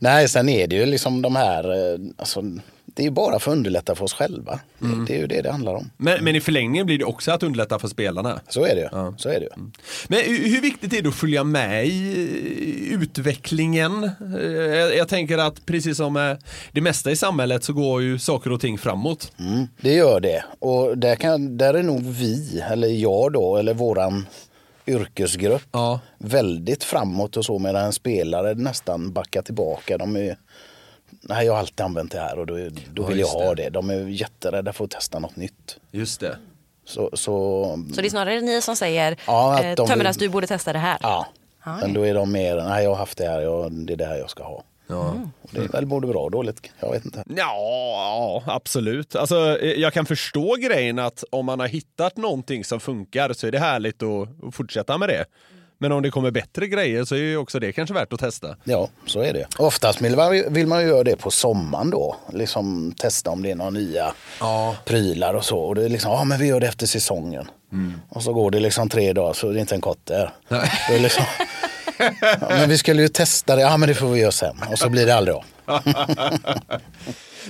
Speaker 4: Nej, sen är det ju liksom de här, eh, alltså, det är ju bara för att underlätta för oss själva.
Speaker 3: Mm.
Speaker 4: Det är ju det det handlar om.
Speaker 3: Men, men i förlängningen blir det också att underlätta för spelarna.
Speaker 4: Så är det ju. Så är det ju.
Speaker 3: Men hur hur viktigt är det att följa med i utvecklingen? Eh, Jag, jag tänker att precis som eh, det mesta i samhället så går ju saker och ting framåt.
Speaker 4: Mm, det gör det. Och där, kan, där är nog vi, eller jag då, eller våran yrkesgrupp
Speaker 3: Ja.
Speaker 4: väldigt framåt och så medan en spelare nästan backar tillbaka. De är, nej, jag har alltid använt det här och då, då vill jag
Speaker 3: just
Speaker 4: ha det. De är jätterädda för att testa något nytt.
Speaker 3: Just det.
Speaker 4: Så, så
Speaker 2: Så det är snarare ni som säger
Speaker 4: Ja, att
Speaker 2: eh,
Speaker 4: de-
Speaker 2: Tömmernas, du borde testa det här.
Speaker 4: ja, men då är de mer, nej jag har haft det här, jag, det är det här jag ska ha. Och Det är väl både bra och dåligt, jag vet inte.
Speaker 3: Ja, absolut. Alltså, eh, jag kan förstå grejen att om man har hittat någonting som funkar så är det härligt att att fortsätta med det. Men om det kommer bättre grejer så är ju också det kanske värt att testa.
Speaker 4: Ja, så är det. Oftast vill man, vill man ju göra det på sommaren då. Liksom testa om det är några nya prylar och så. Och det är liksom, ja men vi gör det efter säsongen. Och så går det liksom tre dagar så är det inte en kotte där. Det är liksom, ja, men vi skulle ju testa det, ja men det får vi göra sen. Och så blir det aldrig av.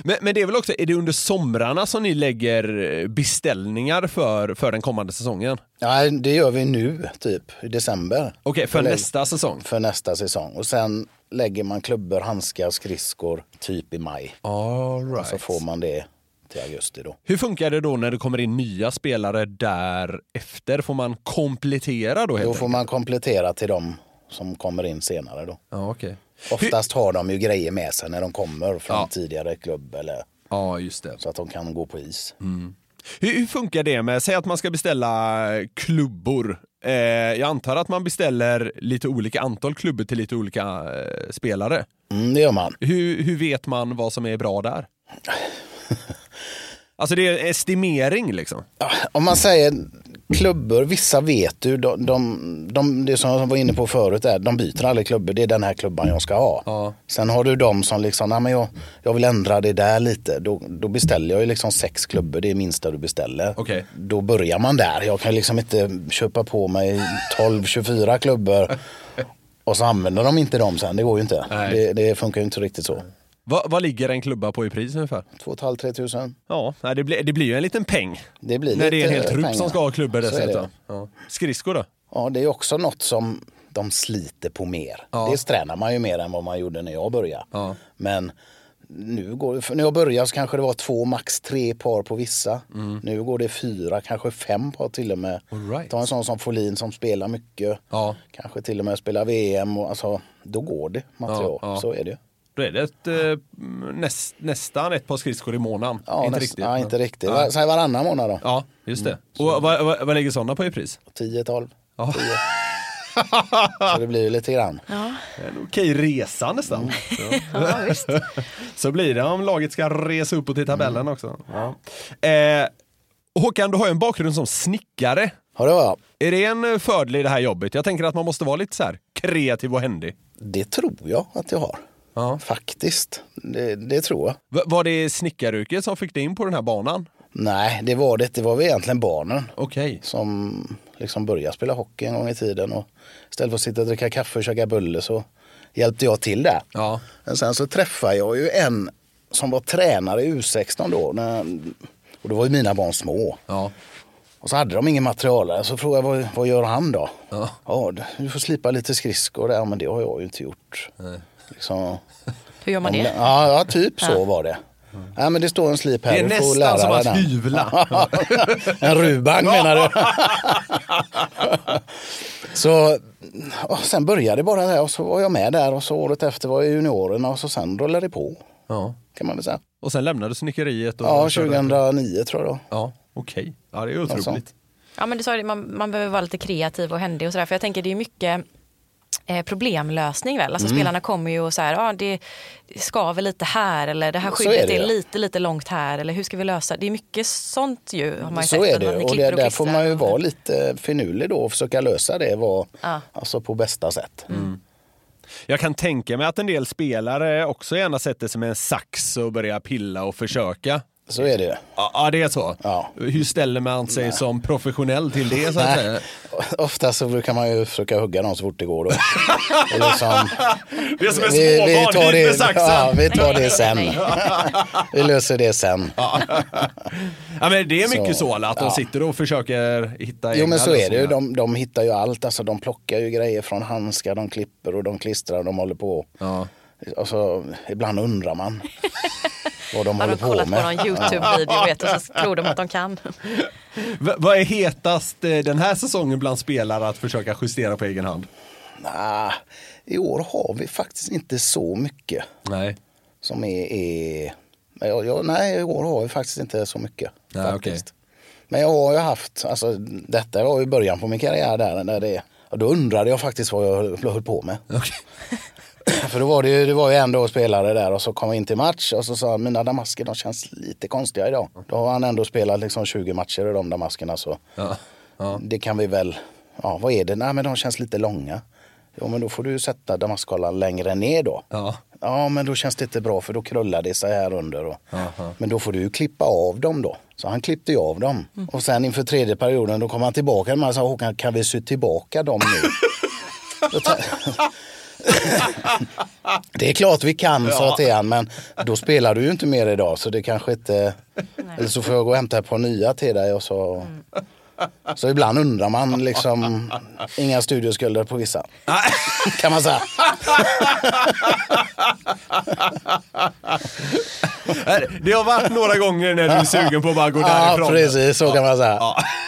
Speaker 3: Men, men det är väl också, är det under somrarna som ni lägger eh, beställningar för, för den kommande säsongen?
Speaker 4: Nej, det gör vi nu, typ i december.
Speaker 3: Okej, för
Speaker 4: Eller-
Speaker 3: nästa säsong?
Speaker 4: För nästa säsong. Och sen lägger man klubbor, handskar, skridskor typ i maj.
Speaker 3: All right.
Speaker 4: Så Alltså, får man det till augusti då.
Speaker 3: Hur funkar det då när det kommer in nya spelare därefter? Får man komplettera då? Helt
Speaker 4: Då får man komplettera till dem som kommer in senare då.
Speaker 3: Ja, okej.
Speaker 4: Oftast har de ju grejer med sig när de kommer från
Speaker 3: Ja.
Speaker 4: tidigare klubb eller
Speaker 3: Ja, just det.
Speaker 4: så att de kan gå på is.
Speaker 3: Mm. Hur, hur funkar det med, säg att man ska beställa klubbor. Eh, jag antar att man beställer lite olika antal klubbor till lite olika eh, spelare.
Speaker 4: Mm, det gör man.
Speaker 3: Hur, hur vet man vad som är bra där? Alltså det är estimering liksom.
Speaker 4: Om man säger klubbor, vissa vet du, de, de, de, det som jag var inne på förut, är, de byter aldrig klubbor, det är den här klubban jag ska ha.
Speaker 3: Ja.
Speaker 4: Sen har du de som liksom, nej men jag, jag vill ändra det där lite, då, då beställer jag ju liksom sex klubbor, det är minsta du beställer.
Speaker 3: Okej.
Speaker 4: Då börjar man där, jag kan ju liksom inte köpa på mig 12-24 klubbor och så använder de inte dem sen, det går ju inte.
Speaker 3: Nej.
Speaker 4: Det, det funkar ju inte riktigt så.
Speaker 3: Va, vad ligger en klubba på i pris ungefär?
Speaker 4: 2 tusen.
Speaker 3: Ja, nej, det, blir, det blir ju en liten peng.
Speaker 4: Det blir
Speaker 3: När det är en hel
Speaker 4: lite
Speaker 3: trupp
Speaker 4: pengar.
Speaker 3: som ska ha klubbor
Speaker 4: Så är det.
Speaker 3: dessutom. Ja. Skridskor då?
Speaker 4: Ja, det är också något som de sliter på mer. Det tränar man ju mer än vad man gjorde när jag började.
Speaker 3: Ja.
Speaker 4: Men nu går, för när jag började så kanske det var två, max tre par på vissa.
Speaker 3: Mm.
Speaker 4: Nu går det fyra, kanske fem par till och med.
Speaker 3: All right.
Speaker 4: Ta en sån som Folin som spelar mycket.
Speaker 3: Ja.
Speaker 4: Kanske till och med spelar VM. Och, alltså, då går det material,
Speaker 3: Ja, ja.
Speaker 4: så är det ju.
Speaker 3: Då är det ett, eh, näst, nästan ett par skridskor i månaden.
Speaker 4: Ja,
Speaker 3: inte
Speaker 4: näst-
Speaker 3: riktigt.
Speaker 4: Ja, inte riktigt.
Speaker 3: Ja,
Speaker 4: Säg varannan månad då.
Speaker 3: ja just det. Mm. Och vad, vad, vad ligger sådana på i pris?
Speaker 4: 10, 12,
Speaker 3: Ja.
Speaker 4: 10. Så det blir ju lite grann.
Speaker 3: En okej resa nästan. Mm.
Speaker 2: Ja, visst.
Speaker 3: Så blir det om laget ska resa uppåt i tabellen också. Eh, Håkan, du har ju en bakgrund som snickare.
Speaker 4: Ja, det var jag.
Speaker 3: Är det en fördel i det här jobbet? Jag tänker att man måste vara lite så här kreativ och händig.
Speaker 4: Det tror jag att jag har.
Speaker 3: Ja.
Speaker 4: Faktiskt. Det, det tror jag.
Speaker 3: V- var det snickaryrket som fick dig in på den här banan?
Speaker 4: Nej, det var det Det var väl egentligen barnen
Speaker 3: Okej.
Speaker 4: som liksom började spela hockey en gång i tiden. Och istället för att sitta och dricka kaffe och käka bulle så hjälpte jag till där.
Speaker 3: Ja.
Speaker 4: Men sen så träffade jag ju en som var tränare i U16 då. När, och då var ju mina barn små.
Speaker 3: Ja.
Speaker 4: Och så hade de ingen materialare. Så frågade jag vad, vad gör han då? Ja. du får slipa lite skridskor där. Ja, men det har jag ju inte gjort. Liksom,
Speaker 2: Hur gör man
Speaker 4: Om-
Speaker 2: det?
Speaker 4: Ja, ja typ så var det. Ja, men det står en slip här.
Speaker 3: Det är
Speaker 4: du får
Speaker 3: nästan
Speaker 4: lära
Speaker 3: som
Speaker 4: dig
Speaker 3: att
Speaker 4: den.
Speaker 3: hyvla.
Speaker 4: en rubang menar du? så och sen började det bara där och så var jag med där och så året efter var jag i juniorerna och så sen rullade det på.
Speaker 3: ja.
Speaker 4: Kan man väl säga.
Speaker 3: Och sen lämnade du snickeriet? Och
Speaker 4: Ja,
Speaker 3: körde-
Speaker 4: 2009 tror jag då.
Speaker 3: Ja, okej. Ja, det är
Speaker 4: Något
Speaker 3: otroligt.
Speaker 4: sånt.
Speaker 2: Ja, men du sa det, man, man behöver vara lite kreativ och händig och sådär. För jag tänker det är ju mycket eh, problemlösning väl.
Speaker 4: Mm.
Speaker 2: Alltså spelarna kommer ju och så här, ja det skaver lite här eller det här
Speaker 4: Så
Speaker 2: skyddet
Speaker 4: är
Speaker 2: är,
Speaker 4: det ju.
Speaker 2: lite, lite långt här eller hur ska vi lösa? Det är mycket sånt ju har man ju
Speaker 4: Så
Speaker 2: sett,
Speaker 4: är
Speaker 2: att
Speaker 4: det
Speaker 2: man
Speaker 4: ju. och det,
Speaker 2: klipper
Speaker 4: där får
Speaker 2: klistrar.
Speaker 4: man ju vara lite finurlig då och försöka lösa det var,
Speaker 2: Ja. Mm.
Speaker 4: alltså på bästa sätt.
Speaker 3: Jag kan tänka mig att en del spelare också gärna sätter sig med en sax och börjar pilla och försöka.
Speaker 4: Så är det ju.
Speaker 3: Ja, ja, det är så.
Speaker 4: Ja.
Speaker 3: Hur ställer man sig som professionell till det? Så att säga?
Speaker 4: Nej. Ofta så brukar man ju försöka hugga dem så fort det går. Då. Och liksom,
Speaker 3: Det är som en
Speaker 4: vi, vi,
Speaker 3: småbarn,
Speaker 4: tar
Speaker 3: hit med
Speaker 4: det,
Speaker 3: saxen!
Speaker 4: ja,
Speaker 3: Ja.
Speaker 4: vi tar det sen. vi löser det sen.
Speaker 3: men det är mycket så,
Speaker 4: Så,
Speaker 3: att de
Speaker 4: ja.
Speaker 3: sitter och försöker hitta
Speaker 4: Jo men så är det ju.
Speaker 3: lösningar.
Speaker 4: De, de hittar ju allt. Alltså, de plockar ju grejer från handskar, de klipper och de klistrar, de håller på.
Speaker 3: Ja.
Speaker 4: Alltså, ibland undrar man vad de
Speaker 2: Har
Speaker 4: håller
Speaker 2: de
Speaker 4: på
Speaker 2: kollat på någon
Speaker 4: med.
Speaker 2: YouTube-video vet, och så tror de att de kan.
Speaker 3: V- vad är hetast eh, den här säsongen bland spelare att försöka justera på egen hand?
Speaker 4: Nah, I år har vi faktiskt inte så mycket
Speaker 3: Nej.
Speaker 4: som är... är men jag, jag, nej, i år har vi faktiskt inte så mycket.
Speaker 3: Nej,
Speaker 4: faktiskt. Men jag har ju haft, alltså, detta var ju början på min karriär där. När det, och då undrade jag faktiskt vad jag höll, höll på med.
Speaker 3: Okej.
Speaker 4: För då var det ju, det var ju ändå spelare där och så kom jag in till match och så sa han, mina damasker de känns lite konstiga idag. Då har han ändå spelat liksom 20 matcher i de damaskerna så
Speaker 3: Ja.
Speaker 4: det kan vi väl, ja vad är det, nej men de känns lite långa. Jo men då får du sätta damaskhållaren längre ner då.
Speaker 3: Ja.
Speaker 4: Ja, men då känns det inte bra för då krullar det sig här under. Och, men då får du ju klippa av dem då. Så han klippte ju av dem. Och sen inför tredje perioden då kom han tillbaka och sa Håkan kan vi sy tillbaka dem nu? Då ta- det är klart vi kan sa jag till han men då spelar du ju inte mer idag så det kanske inte... Eller så får jag gå och hämta ett par nya till dig och så... Så ibland undrar man liksom, inga studieskulder på vissa. Kan man säga.
Speaker 3: Äh, Det har varit
Speaker 4: Ah,
Speaker 3: några gånger när du är sugen på att bara gå
Speaker 4: Ja,
Speaker 3: därifrån.
Speaker 4: precis så kan man säga.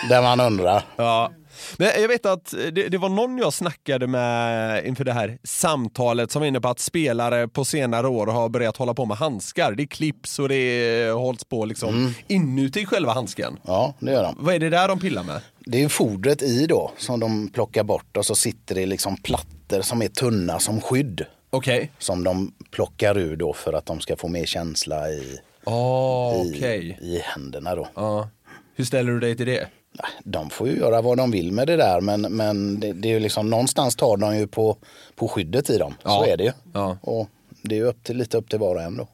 Speaker 4: Där man undrar.
Speaker 3: Ja. Men jag vet att det, det var någon jag snackade med inför det här samtalet som var inne på att spelare på senare år har börjat hålla på med handskar. Det klipps och det hålls på liksom inuti själva handsken.
Speaker 4: Ja, det gör de.
Speaker 3: Vad är det där de pillar med?
Speaker 4: Det är ju fodret i då som de plockar bort och så sitter det liksom plattor som är tunna som skydd.
Speaker 3: Okej.
Speaker 4: Som de plockar ur då för att de ska få mer känsla i,
Speaker 3: Ah,
Speaker 4: i,
Speaker 3: okej.
Speaker 4: i händerna då.
Speaker 3: Ja. Hur ställer du dig till det?
Speaker 4: Nej, De får ju göra vad de vill med det där men, men det, det är ju liksom någonstans tar de ju på, på skyddet i dem.
Speaker 3: Ja.
Speaker 4: Så är det ju.
Speaker 3: Ja.
Speaker 4: Och det är ju upp till, lite upp till var och en då.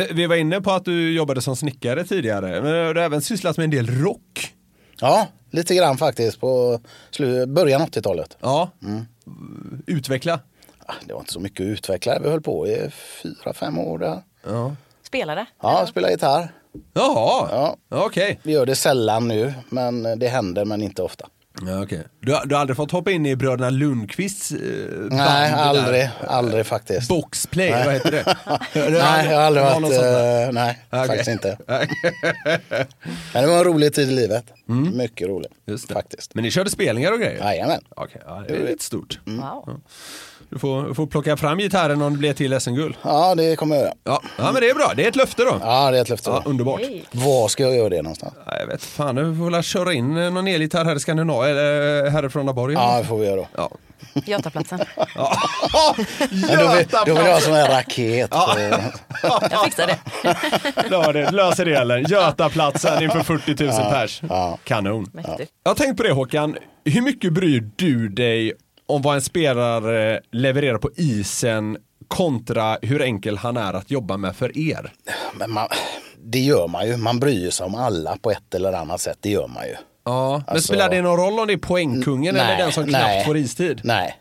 Speaker 3: Eh, Vi var inne på att du jobbade som snickare tidigare, men du har även sysslat med en del rock.
Speaker 4: Ja, lite grann faktiskt på slu, början av 80-talet.
Speaker 3: Ja. Utveckla.
Speaker 4: Ah, Det var inte så mycket att utveckla, vi höll på i fyra, fem år där.
Speaker 2: Spelare.
Speaker 4: Ja, spela gitarr.
Speaker 3: Jaha,
Speaker 4: Ja.
Speaker 3: okej.
Speaker 4: Vi gör det sällan nu, men eh, det händer men inte ofta.
Speaker 3: Ja, okej. Du, har- du har aldrig fått hoppa in i bröderna Lundqvists eh, band?
Speaker 4: Nej,
Speaker 3: där?
Speaker 4: aldrig, aldrig faktiskt.
Speaker 3: Boxplay,
Speaker 4: Nej.
Speaker 3: vad heter det?
Speaker 4: Nej, jag har aldrig
Speaker 3: Ja, något
Speaker 4: varit,
Speaker 3: sånt där.
Speaker 4: eh, nej,
Speaker 3: Okej.
Speaker 4: faktiskt inte. Men det var en rolig tid i livet. Mycket rolig,
Speaker 3: Mm. Just det.
Speaker 4: faktiskt.
Speaker 3: Men ni körde spelningar och grejer?
Speaker 4: Jajamän.
Speaker 3: Okej, ja, det är lite stort.
Speaker 4: Mm.
Speaker 2: Wow.
Speaker 3: Du får, får plocka fram gitarren om det blir till SM-guld.
Speaker 4: Ja, det kommer jag göra.
Speaker 3: Ja. ja, men det är bra. Det är ett löfte då.
Speaker 4: Ja, det är ett löfte.
Speaker 3: Ja, Mm. underbart.
Speaker 2: Hej.
Speaker 4: Var ska jag göra det någonstans?
Speaker 3: Ja, jag vet fan, vi får väl köra in eh, någon elgitarr här i Skandinavien, eller eh, härifrån Laborg.
Speaker 4: Ja, det får vi göra då.
Speaker 3: Ja.
Speaker 2: Götaplatsen.
Speaker 4: Men då, vill, då vill jag ha sån här raket.
Speaker 2: Jag fixar det.
Speaker 3: Ja, det löser det eller? Götaplatsen inför 40 000 pers. Kanon.
Speaker 2: Mäktigt.
Speaker 3: Jag har tänkt på det Håkan, hur mycket bryr du dig om vad en spelare levererar på isen kontra hur enkel han är att jobba med för er?
Speaker 4: Men man, det gör man ju. Man bryr sig om alla på ett eller annat sätt. Det gör man ju.
Speaker 3: Ja, men
Speaker 4: Alltså-
Speaker 3: spelar det någon roll om det är poängkungen eller
Speaker 4: Nej,
Speaker 3: den som
Speaker 4: nej,
Speaker 3: knappt får istid?
Speaker 4: Nej.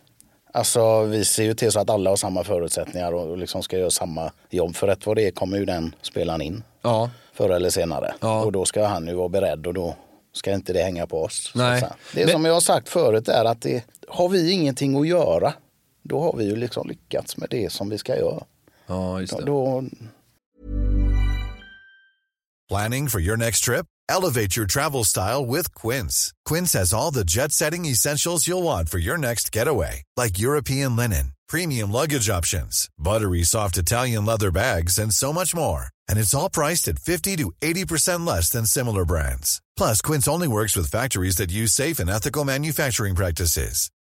Speaker 4: Alltså vi ser ju till så att alla har samma förutsättningar och och liksom ska göra samma jobb. För rätt vad det är kommer ju den spelaren in
Speaker 3: Ja.
Speaker 4: förr eller senare.
Speaker 3: Ja.
Speaker 4: Och då ska han ju vara beredd och då ska inte det hänga på oss. så att
Speaker 3: Nej.
Speaker 4: säga. Det är
Speaker 3: Men-
Speaker 4: som jag har sagt förut är att det, har vi ingenting att göra då har vi ju liksom lyckats med det som vi ska göra.
Speaker 3: Ja, just
Speaker 4: Då,
Speaker 3: det.
Speaker 4: då,
Speaker 5: Planning for your next trip? Elevate your travel style with Quince. Quince has all the jet setting essentials you'll want for your next getaway, like European linen, premium luggage options, buttery soft Italian leather bags, and so much more. And it's all priced at 50 to 80% less than similar brands. Plus, Quince only works with factories that use safe and ethical manufacturing practices.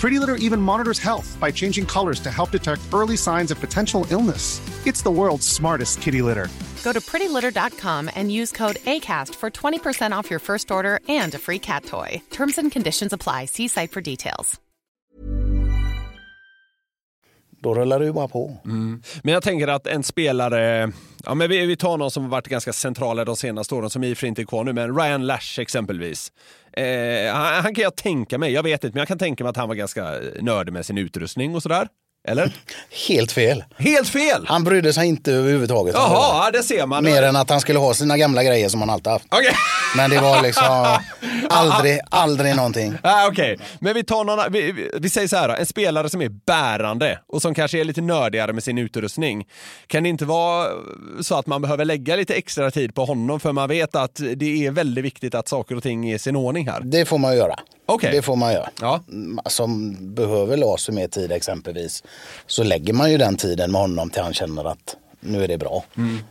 Speaker 6: Pretty Litter even monitors health by changing colors to help detect early signs of potential illness. It's the world's smartest kitty litter.
Speaker 7: Go to prettylitter.com and use code ACAST for 20% off your first order and a free cat toy. Terms and conditions apply. See site for details.
Speaker 4: då rullar det ju bara på.
Speaker 3: Men jag tänker att en spelare, ja, men vi, vi tar någon som har varit ganska central de senaste åren, som i och för sig inte är kvar nu, men Ryan Lash exempelvis. Eh, han, han kan jag tänka mig, jag vet inte, men jag kan tänka mig att han var ganska nördig med sin utrustning och sådär. Eller?
Speaker 4: Helt fel.
Speaker 3: Helt fel!
Speaker 4: Han brydde sig inte överhuvudtaget. om det där.
Speaker 3: Jaha, ja, det ser man.
Speaker 4: Mer än att han skulle ha sina gamla grejer som han alltid haft.
Speaker 3: Okej.
Speaker 4: Men det var liksom aldrig, aldrig någonting.
Speaker 3: Ah, Okej, men vi tar någon, vi, vi, vi säger så här då, en spelare som är bärande och som kanske är lite nördigare med sin utrustning. Kan det inte vara så att man behöver lägga lite extra tid på honom för man vet att det är väldigt viktigt att saker och ting är i sin ordning här?
Speaker 4: Det får man göra.
Speaker 3: Okej.
Speaker 4: Det får man göra.
Speaker 3: Ja.
Speaker 4: Som behöver Lasu mer tid exempelvis så lägger man ju den tiden med honom till han känner att nu är det bra.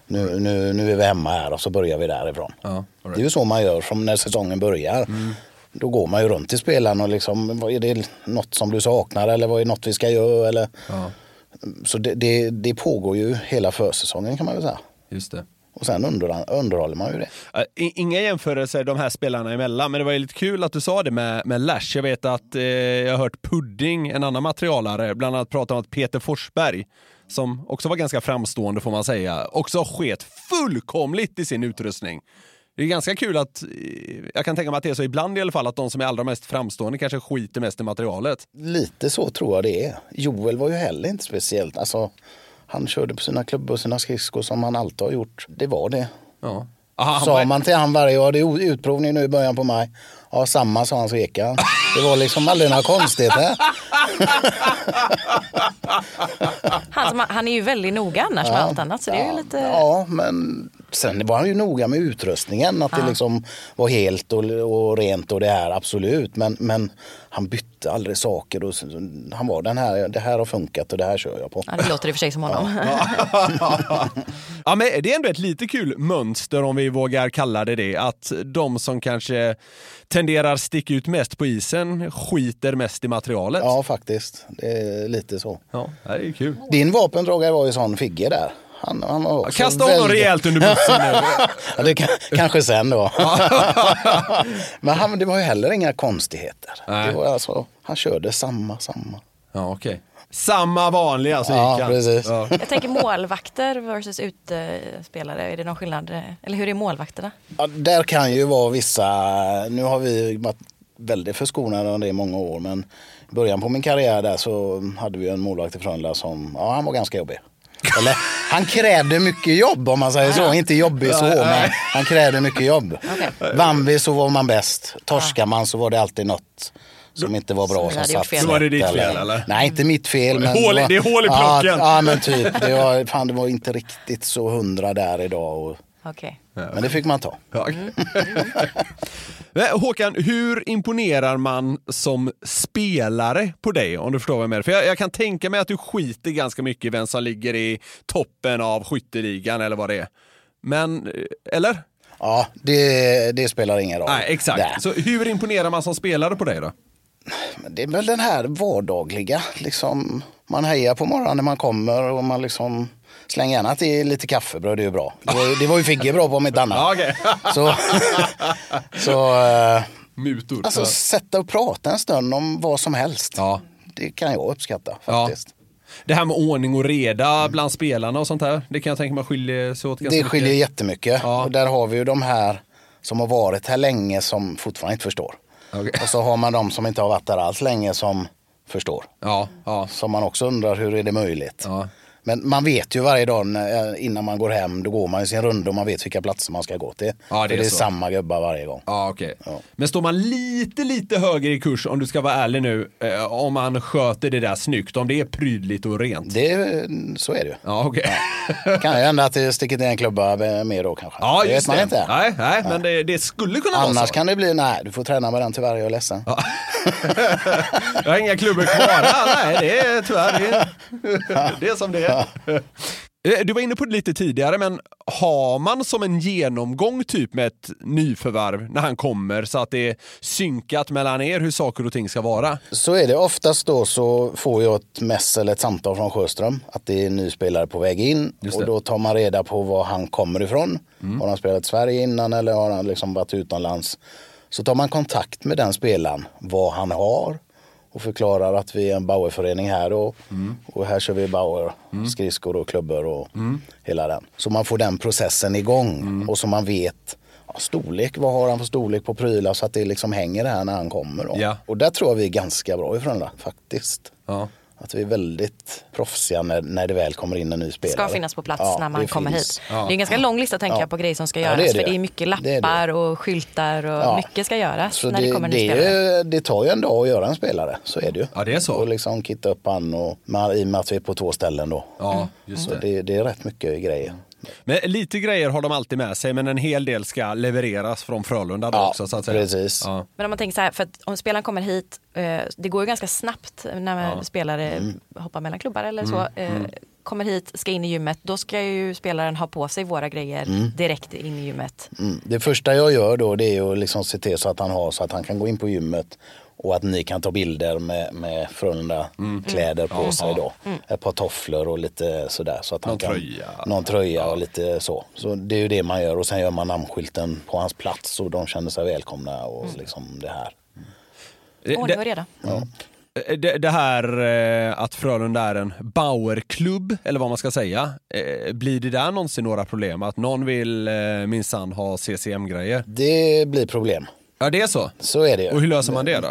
Speaker 4: Nu, nu, nu är vi hemma här och så börjar vi därifrån. Det är ju så man gör som när säsongen börjar. Då går man ju runt till spelaren och liksom, vad är det något som du saknar eller vad är något vi ska göra? Eller... Så det, det, det pågår ju hela försäsongen kan man väl säga.
Speaker 3: Just det.
Speaker 4: Och sen under, underhåller man ju det.
Speaker 3: Eh, i- Inga jämförelser de här spelarna emellan, men det var ju lite kul att du sa det med, med Lash. Jag vet att eh, jag har hört Pudding, en annan materialare, bland annat prata om att Peter Forsberg, som också var ganska framstående får man säga, också sket fullkomligt i sin utrustning. Det är ganska kul att, eh, jag kan tänka mig att det är så ibland i alla fall, att de som är allra mest framstående kanske skiter mest i materialet.
Speaker 4: Lite så tror jag det är. Joel var ju heller inte speciellt. Alltså, Han körde på sina klubbor och sina skridskor som han alltid har gjort. Det var det.
Speaker 3: Ja. Aha, Ah, han
Speaker 4: Sa
Speaker 3: var,
Speaker 4: man till han varje år, det är o- utprovning nu i början på maj. Ja, samma sa han så gick han. Det var liksom aldrig några konstigheter.
Speaker 2: Han, som, han är ju väldigt noga annars med allt annat så det är ju lite...
Speaker 4: Ja, men sen var han ju noga med utrustningen. Att det liksom var helt och, och rent och det här, absolut. Men, men han bytte aldrig saker. Och, s- han var den här, det här har funkat och det här kör jag på.
Speaker 2: Ja, det låter i och för sig som honom.
Speaker 3: ja, men det är ändå ett lite kul mönster om vi vågar kalla det det. Att de som kanske tenderar sticka ut mest på isen skiter mest i materialet.
Speaker 4: Ja, faktiskt. Det är lite så.
Speaker 3: Ja, det är ju kul.
Speaker 4: Din vapendragare var ju sån figge där. Han, han var också
Speaker 3: Kasta honom
Speaker 4: väldigt-
Speaker 3: rejält under bussen nu.
Speaker 4: Ja, det kan, kanske sen då. Men han, det var ju heller inga konstigheter. Det var alltså, han körde samma, samma.
Speaker 3: Ja, okej. Samma vanliga så
Speaker 4: Ja,
Speaker 3: gick han.
Speaker 4: precis.
Speaker 3: Ja.
Speaker 2: Jag tänker målvakter versus utespelare, är det någon skillnad? Eller hur är målvakterna?
Speaker 4: Ja, där kan ju vara vissa, nu har vi varit väldigt förskonade under det i många år men i början på min karriär där så hade vi en målvakt i Frölunda som, ja han var ganska jobbig. Eller, han krävde mycket jobb om man säger så, inte jobbig så men han krävde mycket jobb. Vann vi så var man bäst, torskar man så var det alltid något som inte var bra
Speaker 2: ni
Speaker 4: som
Speaker 2: hade gjort
Speaker 4: satt
Speaker 2: fel.
Speaker 3: Så var det
Speaker 4: rätt,
Speaker 3: ditt fel, eller?
Speaker 4: Nej inte mitt fel. Men
Speaker 3: Hål i- det är hål i
Speaker 4: ja,
Speaker 3: plocken.
Speaker 4: Ja men typ, det var, fan, det var inte riktigt så hundra där idag. Och,
Speaker 2: Okej.
Speaker 4: men det fick man ta.
Speaker 3: Ja. Men Eh, Håkan, hur imponerar man som spelare på dig? Om du förstår vad jag menar. För jag, jag kan tänka mig att du skiter ganska mycket i vem som ligger i toppen av skytteligan eller vad det är. Men, eh, eller?
Speaker 4: Ja, det, det spelar ingen roll.
Speaker 3: Nej, exakt.
Speaker 4: Där.
Speaker 3: Så hur imponerar man som spelare på dig då?
Speaker 4: Men Det är väl den här vardagliga, liksom. Man hejar på morgonen när man kommer och man liksom slänger gärna till lite kaffebröd, det är ju bra. Det var, ju- det var ju Figge bra på om inte
Speaker 3: Ja,
Speaker 4: annat.
Speaker 3: okej.
Speaker 4: Så, så eh,
Speaker 3: Mutor.
Speaker 4: alltså sätta och prata en stund om vad som helst.
Speaker 3: Ja.
Speaker 4: Det kan jag uppskatta
Speaker 3: Ja.
Speaker 4: faktiskt.
Speaker 3: Det här med ordning och reda bland spelarna och sånt där. Det kan jag tänka mig skiljer sig åt ganska
Speaker 4: Det skiljer
Speaker 3: mycket.
Speaker 4: jättemycket.
Speaker 3: Ja.
Speaker 4: Och där har vi ju de här som har varit här länge som fortfarande inte förstår.
Speaker 3: Okej.
Speaker 4: Och så har man de som inte har varit där alls länge som förstår.
Speaker 3: Ja, ja.
Speaker 4: Som man också undrar hur är det möjligt.
Speaker 3: Ja.
Speaker 4: Men man vet ju varje dag när- eh, innan man går hem, då går man ju sin runda och man vet vilka platser man ska gå till.
Speaker 3: Ja, det
Speaker 4: För
Speaker 3: är
Speaker 4: det är
Speaker 3: så.
Speaker 4: samma gubbar varje gång.
Speaker 3: Ja, okej.
Speaker 4: Ja.
Speaker 3: Men står man lite, lite högre i kurs, om du ska vara ärlig nu, eh, om man sköter det där snyggt, om det är prydligt och rent?
Speaker 4: Det, så är det ju.
Speaker 3: Ja, okej.
Speaker 4: Det kan ju hända att det sticker till en klubba mer då kanske.
Speaker 3: Ja,
Speaker 4: det vet
Speaker 3: just
Speaker 4: man
Speaker 3: det.
Speaker 4: inte.
Speaker 3: Nej, nej, men det, det skulle kunna vara
Speaker 4: Annars
Speaker 3: så.
Speaker 4: kan det bli, nej du får träna med den tyvärr, jag är ledsen.
Speaker 3: Jag har inga klubbor kvar. Ja, nej, det är tyvärr det är, det är som det är. Eh, Du var inne på det lite tidigare, men har man som en genomgång typ med ett nyförvärv när han kommer så att det är synkat mellan er hur saker och ting ska vara?
Speaker 4: Så är det. Oftast då så får jag ett mess eller ett samtal från Sjöström att det är en ny spelare på väg in
Speaker 3: Just det. Mm.
Speaker 4: och då tar man reda på var han kommer ifrån. Har han spelat i Sverige innan eller har han liksom varit utomlands? Så tar man kontakt med den spelaren, vad han har och förklarar att vi är en Bauerförening här och,
Speaker 3: Mm.
Speaker 4: och här kör vi Bauer, skridskor och klubbor och
Speaker 3: Mm.
Speaker 4: hela den. Så man får den processen igång och så man vet ja, storlek, vad har han för storlek på prylar så att det liksom hänger här när han kommer. Då.
Speaker 3: Ja.
Speaker 4: Och där tror jag vi är ganska bra i Frölunda faktiskt.
Speaker 3: Ja.
Speaker 4: Att vi är väldigt proffsiga när, när det väl kommer in en ny spelare.
Speaker 2: Ska finnas på plats
Speaker 4: Ja,
Speaker 2: när man
Speaker 4: det
Speaker 2: kommer
Speaker 4: finns.
Speaker 2: hit. Det är en ganska lång lista tänker
Speaker 4: Ja.
Speaker 2: jag på grejer som ska
Speaker 4: Ja,
Speaker 2: göras.
Speaker 4: det är
Speaker 2: För
Speaker 4: det.
Speaker 2: det är mycket
Speaker 4: Det är det.
Speaker 2: lappar och skyltar och mycket ska göras
Speaker 4: Så
Speaker 2: när det, kommer en ny
Speaker 4: det,
Speaker 2: spelare.
Speaker 4: är- det tar ju en dag att göra en spelare, så är det ju.
Speaker 3: Ja, det är så.
Speaker 4: Och liksom kitta upp han och, men i och med att vi är på två ställen då.
Speaker 3: Ja, just
Speaker 4: Så det, det är rätt mycket grejer.
Speaker 3: Men lite grejer har de alltid med sig, men en hel del ska levereras från Frölunda då
Speaker 4: Ja,
Speaker 3: också. Så att säga.
Speaker 4: precis.
Speaker 3: Ja.
Speaker 2: Men om man tänker så här, för att om spelaren kommer hit, eh, det går ju ganska snabbt när spelare
Speaker 4: Mm.
Speaker 2: hoppar mellan klubbar eller så. Eh, Kommer hit, ska in i gymmet, då ska ju spelaren ha på sig våra grejer direkt in i gymmet.
Speaker 4: Mm. Det första jag gör då det är att liksom se till så att han har så att han kan gå in på gymmet och att ni kan ta bilder med, med Frölunda
Speaker 3: Mm.
Speaker 4: kläder på sig då. Ett par tofflor och lite sådär. Så att han
Speaker 3: Någon
Speaker 4: kan,
Speaker 3: tröja.
Speaker 4: Någon tröja och lite så. Så det är ju det man gör och sen gör man namnskylten på hans plats och de känner sig välkomna och
Speaker 3: Mm.
Speaker 4: liksom det här.
Speaker 2: Ordning och reda.
Speaker 3: Det, eh, det, det här eh, att Frölunda är en Bauerklubb, eller vad man ska säga. eh, Blir det där någonsin några problem? Att någon vill eh, minsann ha CCM-grejer?
Speaker 4: Det blir problem.
Speaker 3: Ja, det är så.
Speaker 4: Så är det ju.
Speaker 3: Och hur löser man det då?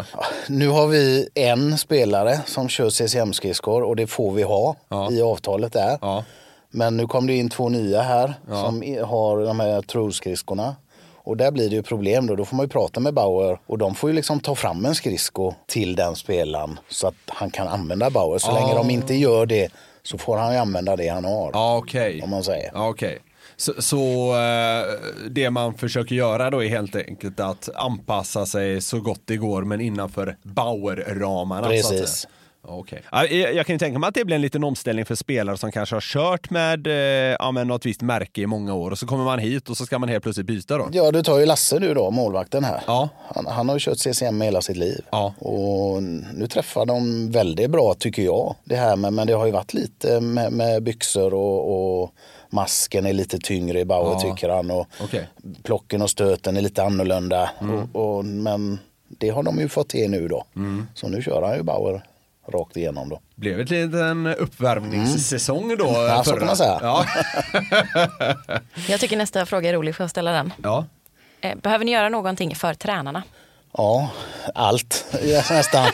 Speaker 4: Nu har vi en spelare som kör CCM-skridskor och det får vi ha
Speaker 3: Ja.
Speaker 4: i avtalet där.
Speaker 3: Ja.
Speaker 4: Men nu kom det in två nya här som i- har de här trosskridskorna. Och där blir det ju problem då. Då får man ju prata med Bauer och de får ju liksom ta fram en skridsko till den spelaren så att han kan använda Bauer. Så länge de inte gör det så får han ju använda det han har.
Speaker 3: Ja, okej.
Speaker 4: Om man säger.
Speaker 3: Ja, okej. Så, så eh, det man försöker göra då är helt enkelt att anpassa sig så gott det går men innanför Bauer-ramarna. Så att
Speaker 4: Precis.
Speaker 3: säga. Ja, Okej. Ja, Jag jag kan ju tänka mig att det blir en liten omställning för spelare som kanske har kört med eh, ja, men något visst märke i många år och så kommer man hit och så ska man helt plötsligt byta då.
Speaker 4: Ja, du tar ju Lasse nu då, målvakten här.
Speaker 3: Ja.
Speaker 4: Han, han har ju kört CCM hela sitt liv.
Speaker 3: Ja.
Speaker 4: Och nu träffar de väldigt bra tycker jag. Det här med, men det har ju varit lite med, med byxor och, och masken är lite tyngre i Bauer
Speaker 3: Ja.
Speaker 4: tycker han. Och
Speaker 3: Okej. Mm.
Speaker 4: Plocken och stöten är lite annorlunda. Och, och, men det har de ju fått till nu då. Så nu kör han ju Bauer rakt igenom då.
Speaker 3: blev ett liten uppvärmningssäsong då. eh,
Speaker 4: Mm. så
Speaker 3: förra.
Speaker 4: kan man säga.
Speaker 3: Ja.
Speaker 2: Jag tycker nästa fråga är rolig, får jag ställa den?
Speaker 3: ja.
Speaker 2: Eh, Behöver ni göra någonting för tränarna?
Speaker 4: Ja, allt Ja, nästan.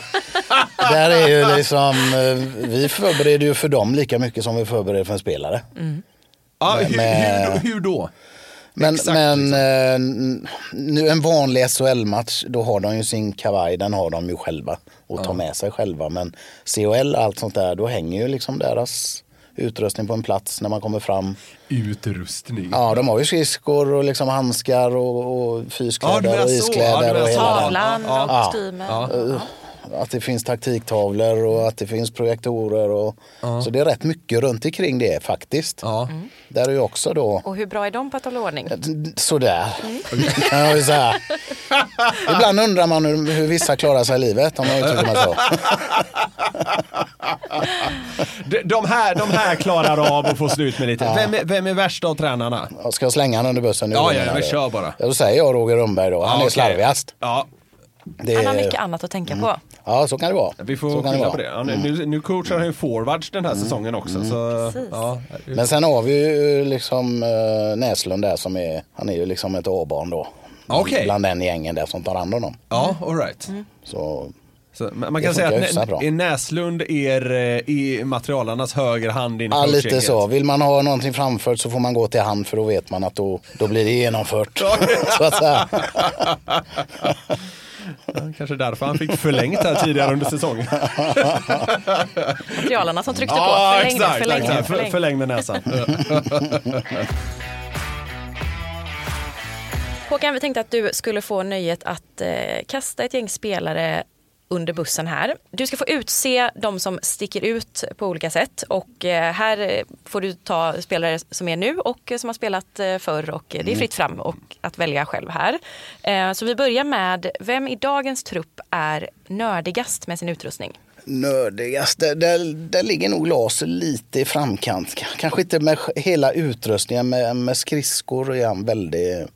Speaker 4: Där är ju liksom, eh, vi förbereder ju för dem lika mycket som vi förbereder för en spelare.
Speaker 3: ja hur, hur, då- hur då?
Speaker 4: Men,
Speaker 3: Exakt, liksom.
Speaker 4: men eh, n- nu en vanlig SHL-match, då har de ju sin kavaj, den har de ju själva och tar med sig själva. Men CHL och allt sånt där, då hänger ju liksom deras utrustning på en plats när man kommer fram.
Speaker 3: Utrustning.
Speaker 4: Ja, de har ju skridskor och liksom handskar och, och
Speaker 3: Ja, du
Speaker 4: fyskläder
Speaker 3: menar
Speaker 4: och
Speaker 3: så. Ja, du
Speaker 4: iskläder
Speaker 3: menar så.
Speaker 4: och hela
Speaker 2: Tavlan
Speaker 4: den.
Speaker 3: Ja,
Speaker 2: och
Speaker 4: ja.
Speaker 2: kostymen?
Speaker 4: att det finns taktiktavlor och att det finns projektorer. Och, Så det är rätt mycket runt omkring det faktiskt.
Speaker 3: Ja.
Speaker 4: Där är ju också då
Speaker 2: Och hur bra är de på att hålla ordning?
Speaker 4: sådär. Ja, det är så här. Ibland undrar man hur, hur vissa klarar sig i livet om man uttrycker mig så.
Speaker 3: De, de, här, de här klarar av att få slut med lite. Vem, är, vem är värst av tränarna?
Speaker 4: Ja, Ska jag slänga honom under bussen nu?
Speaker 3: Ja, ja,
Speaker 4: menar
Speaker 3: men
Speaker 4: du?
Speaker 3: kör bara.
Speaker 4: Ja, Då säger jag Roger Rundberg då. Han
Speaker 3: Ja,
Speaker 4: är
Speaker 3: okej.
Speaker 4: slarvigast.
Speaker 3: Ja,
Speaker 4: Det,
Speaker 2: Han har mycket annat att tänka på.
Speaker 4: Ja, så kan det vara.
Speaker 3: vi
Speaker 4: så
Speaker 3: får
Speaker 4: kan
Speaker 3: skylla
Speaker 4: vara. Mm.
Speaker 3: på det. Ja, nu, nu- nu coachar han ju forwards den här säsongen också. Så, ja.
Speaker 4: Men sen har vi ju liksom eh, Näslund där som är, han är ju liksom ett A-barn då.
Speaker 3: Okej.
Speaker 4: Bland den gängen där som tar hand om dem.
Speaker 3: ja, all right.
Speaker 4: Så
Speaker 3: Så, man man
Speaker 4: Det
Speaker 3: kan säga
Speaker 4: funkar
Speaker 3: att
Speaker 4: hyfsat
Speaker 3: Nä-
Speaker 4: bra.
Speaker 3: är Näslund er, eh, i materialarnas höger hand in i
Speaker 4: Ja, lite
Speaker 3: coachgänget?
Speaker 4: så. Vill man ha någonting framfört så får man gå till han för då vet man att då, då blir det genomfört. så att säga.
Speaker 3: Kanske därför han fick förlängt här tidigare under säsongen.
Speaker 2: Materialarna som tryckte på.
Speaker 3: Ja,
Speaker 2: Förläng,
Speaker 3: exakt,
Speaker 2: förläng,
Speaker 3: exakt. För-
Speaker 2: förläng.
Speaker 3: Förläng med näsan.
Speaker 2: Håkan, vi tänkte att du skulle få nöjet att eh, kasta ett gäng spelare under bussen här. Du ska få utse de som sticker ut på olika sätt och eh, här eh, får du ta spelare som är nu och eh, som har spelat eh, förr och eh, det
Speaker 4: Mm.
Speaker 2: är fritt fram och att välja själv här. Eh, så vi börjar med, vem i dagens trupp är nördigast med sin utrustning?
Speaker 4: Nördigast, där, där, där ligger nog Lars lite i framkant. K- Kanske inte med sj- hela utrustningen, men med skridskor är han väldigt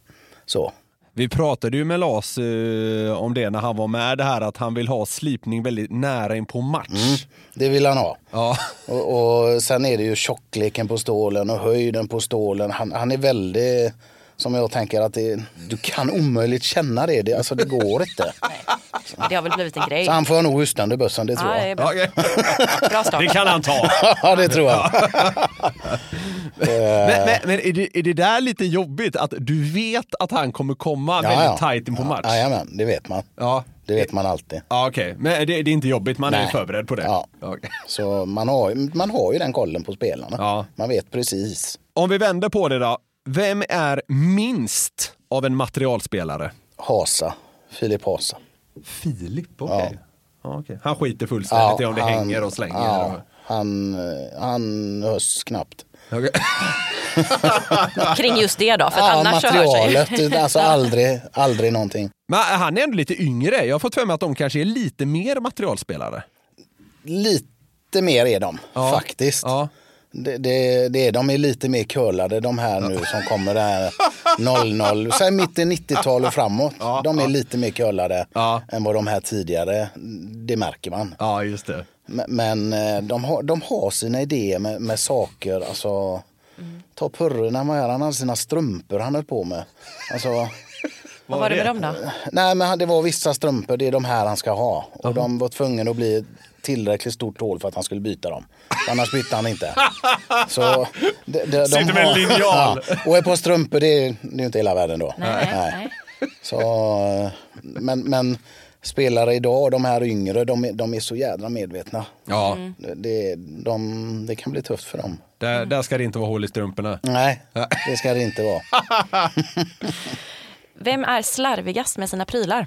Speaker 4: så.
Speaker 3: Vi pratade ju med Lars eh, om det när han var med, det här att han vill ha slipning väldigt nära in på match.
Speaker 4: Mm. Det vill han ha.
Speaker 3: Ja.
Speaker 4: Och, och sen är det ju tjockleken på stålen och höjden på stålen. Han, han är väldigt, som jag tänker att det, du kan omöjligt känna det. det alltså det går inte.
Speaker 2: Det har väl blivit en grej.
Speaker 4: Så han får nog hosta under bussen, det tror
Speaker 2: Ja, det
Speaker 4: jag.
Speaker 2: är bra. bra start.
Speaker 3: Det kan han ta.
Speaker 4: Ja, det tror jag.
Speaker 3: Men, men, men är, det, är det där lite jobbigt att du vet att han kommer komma väldigt tajt in på match?
Speaker 4: Ja, jajamän, det vet man.
Speaker 3: Ja.
Speaker 4: Det vet man alltid.
Speaker 3: Ja, okej. Men det, det är inte jobbigt, man är
Speaker 4: Nej.
Speaker 3: förberedd på det.
Speaker 4: Ja.
Speaker 3: Okej.
Speaker 4: Så man har, ju- man har ju den kollen på spelarna.
Speaker 3: Ja.
Speaker 4: Man vet precis.
Speaker 3: Om vi vänder på det då. Vem är minst av en materialspelare?
Speaker 4: Hasa, Filip Hasa.
Speaker 3: Filip, okej. Ja, okej. Han skiter fullständigt i om det hänger och slänger.
Speaker 4: Ja,
Speaker 3: och-
Speaker 4: han, eh, han hörs knappt.
Speaker 3: Okej.
Speaker 2: Kring just det då, för att
Speaker 4: Ja,
Speaker 2: annars så hör sig.
Speaker 4: Ah, materialet, alltså aldrig, aldrig någonting.
Speaker 3: Men han är ändå lite yngre. Jag har fått för mig att de kanske är lite mer materialspelare.
Speaker 4: Lite mer är de,
Speaker 3: Ja.
Speaker 4: faktiskt.
Speaker 3: Ja.
Speaker 4: Det, det, det är, de är lite mer curlade de här nu som kommer där 00, säg mitt i 90-tal och framåt. de är lite mer curlade
Speaker 3: Ja.
Speaker 4: än vad de här tidigare, det märker man.
Speaker 3: Ja, just det.
Speaker 4: Men- Men eh, de har, de har sina idéer med, med saker. Alltså, Ta Purre när man är, han hade sina strumpor han höll på med. Alltså,
Speaker 2: Vad var det med dem då?
Speaker 4: Nej, men det var vissa strumpor, det är de här han ska ha. Och de var tvungna att bli tillräckligt stort hål för att han skulle byta dem. Annars bytte han inte. Så de, de, de
Speaker 3: Sitter med en
Speaker 4: har-
Speaker 3: linjal.
Speaker 4: och ett par strumpor, det är, det är ju inte hela världen då.
Speaker 2: Nej, nej.
Speaker 4: Så, eh, men, men spelare idag, de här yngre, de, är- de är så jädra medvetna.
Speaker 3: Ja,
Speaker 4: Mm. Det, de, det kan bli tufft för dem.
Speaker 3: där, där ska det inte vara hål i strumporna.
Speaker 4: Nej, det ska det inte vara.
Speaker 2: Vem är slarvigast med sina prylar?